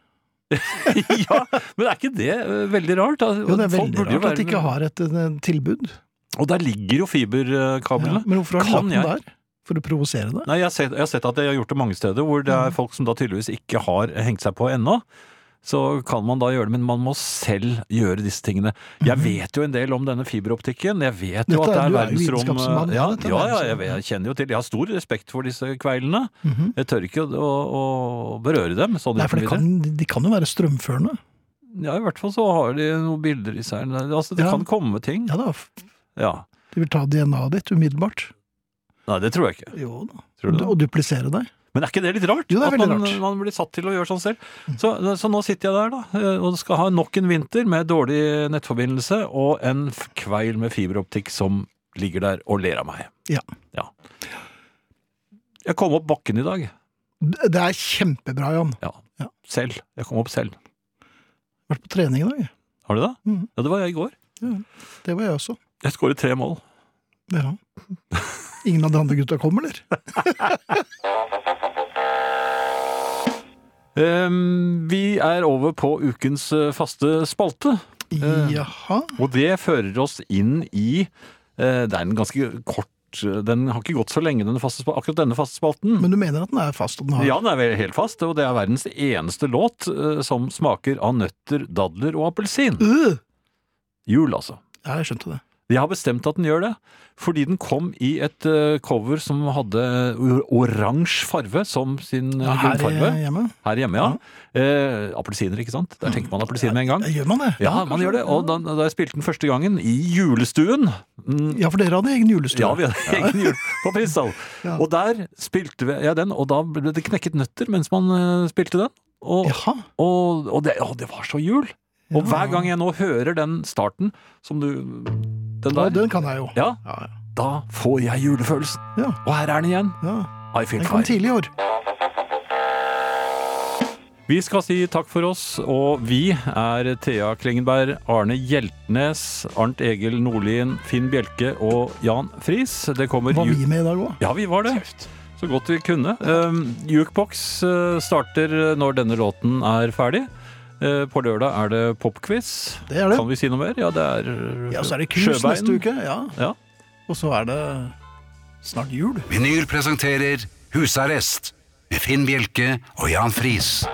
Speaker 3: ja, men er ikke det eh, veldig rart? da?
Speaker 2: Jo, det er
Speaker 3: Folk
Speaker 2: veldig
Speaker 3: burde jo
Speaker 2: rart at de
Speaker 3: være-
Speaker 2: ikke har et eh, tilbud.
Speaker 3: Og der ligger jo
Speaker 2: Ja.
Speaker 3: fiberkablene.
Speaker 2: Men hvorfor har de
Speaker 3: Kan
Speaker 2: lagt den der? For å provosere deg?
Speaker 3: Nei, jeg har, sett, jeg har sett at jeg har gjort det mange steder hvor det
Speaker 2: Mm.
Speaker 3: er folk som da tydeligvis ikke har hengt seg på ennå. Så kan man da gjøre det, men man må selv gjøre disse tingene. Jeg vet jo en del om denne fiberoptikken. Jeg vet jo
Speaker 2: Mm. Dette
Speaker 3: at det
Speaker 2: er-
Speaker 3: er
Speaker 2: du er jo
Speaker 3: verdensrom
Speaker 2: vitenskapsmann,
Speaker 3: Ja,
Speaker 2: ja, dette er
Speaker 3: ja, ja jeg,
Speaker 2: verdensrom, ja.
Speaker 3: jeg kjenner jo til Jeg har stor respekt for disse kveilene.
Speaker 2: Mhm.
Speaker 3: Jeg tør ikke å, å, å berøre dem. Sånn
Speaker 2: Nei, for det
Speaker 3: uten
Speaker 2: kan, de kan jo være strømførende.
Speaker 3: videre. Ja, i hvert fall så har de noen bilder i seg. Altså, det
Speaker 2: Ja.
Speaker 3: kan komme ting.
Speaker 2: Ja da, f-
Speaker 3: Ja.
Speaker 2: de vil ta DNA-et ditt umiddelbart.
Speaker 3: Nei, det tror jeg ikke.
Speaker 2: Jo da.
Speaker 3: Tror du det?
Speaker 2: Og duplisere deg.
Speaker 3: Men er ikke det litt rart?
Speaker 2: Jo, det er
Speaker 3: at man,
Speaker 2: veldig rart.
Speaker 3: man blir satt til å gjøre sånn selv. Så, så nå sitter jeg der, da, eh, og skal ha nok en vinter med dårlig nettforbindelse og en f- kveil med fiberoptikk som ligger der og ler av meg.
Speaker 2: Ja.
Speaker 3: Jeg kom opp bakken i dag.
Speaker 2: Det er kjempebra, Jan.
Speaker 3: Ja.
Speaker 2: Ja.
Speaker 3: Selv. Jeg kom opp selv.
Speaker 2: Vært på trening i dag. jeg.
Speaker 3: Har du det?
Speaker 2: Mhm.
Speaker 3: Ja, det var jeg i går.
Speaker 2: Det var jeg også.
Speaker 3: Jeg skåret tre mål.
Speaker 2: Ja. Ingen av de andre gutta kom, eller?
Speaker 3: Ehm, vi er over på ukens eh, faste spalte. Eh.
Speaker 2: Jaha.
Speaker 3: Og det fører oss inn i eh, Det er en ganske kort eh, Den har ikke gått så lenge, denne faste, spa- akkurat denne faste spalten.
Speaker 2: Men du mener at den er fast, og den har
Speaker 3: Ja, den er vel helt fast, og det er verdens eneste låt eh, som smaker av nøtter, dadler og appelsin.
Speaker 2: Øh!
Speaker 3: Jul, altså.
Speaker 2: Ja, jeg skjønte det.
Speaker 3: Jeg har bestemt at den gjør det, fordi den kom i et eh, cover som hadde or- oransje farve som sin eh,
Speaker 2: Her
Speaker 3: grunnfarve.
Speaker 2: hjemme.
Speaker 3: Her hjemme, ja. Eh, appelsiner, ikke sant? Der tenker man appelsin med en gang.
Speaker 2: Ja, gjør man det?
Speaker 3: Ja, man
Speaker 2: kanskje.
Speaker 3: gjør det. Og da, da jeg spilte den første gangen, i julestuen mm,
Speaker 2: Ja, for dere hadde egen julestue.
Speaker 3: Ja, vi hadde egen jul på Prinsdal.
Speaker 2: Ja.
Speaker 3: Og der spilte vi- jeg den, og da ble det knekket nøtter mens man eh, spilte den. Og,
Speaker 2: Jaha.
Speaker 3: og, og det, å, det var så jul! Og hver gang jeg nå hører den starten som du
Speaker 2: Ja,
Speaker 3: Den der,
Speaker 2: den kan jeg jo.
Speaker 3: ja,
Speaker 2: Ja,
Speaker 3: da får jeg julefølelsen.
Speaker 2: Ja.
Speaker 3: Og her er den igjen.
Speaker 2: ja.
Speaker 3: I feel
Speaker 2: Den kom
Speaker 3: fine.
Speaker 2: tidlig i år.
Speaker 3: Vi skal si takk for oss, og vi er Thea Klingenberg, Arne Hjeltnes, Arnt Egil Nordlien, Finn Bjelke og Jan Friis. Det kommer
Speaker 2: Var
Speaker 3: ju-
Speaker 2: vi med i dag òg?
Speaker 3: Ja, vi var det. Så godt vi kunne. Um, Jukebox eh, starter når denne låten er ferdig. Eh, på lørdag er det popquiz.
Speaker 2: Det er det.
Speaker 3: Kan vi si noe mer? Ja, det er eh,
Speaker 2: Ja, så er det kurs
Speaker 3: Sjøbein.
Speaker 2: neste uke. Ja.
Speaker 3: Ja.
Speaker 2: Og så er det snart jul.
Speaker 1: Vinyl presenterer Husarrest med Finn Bjelke og Jan Friis.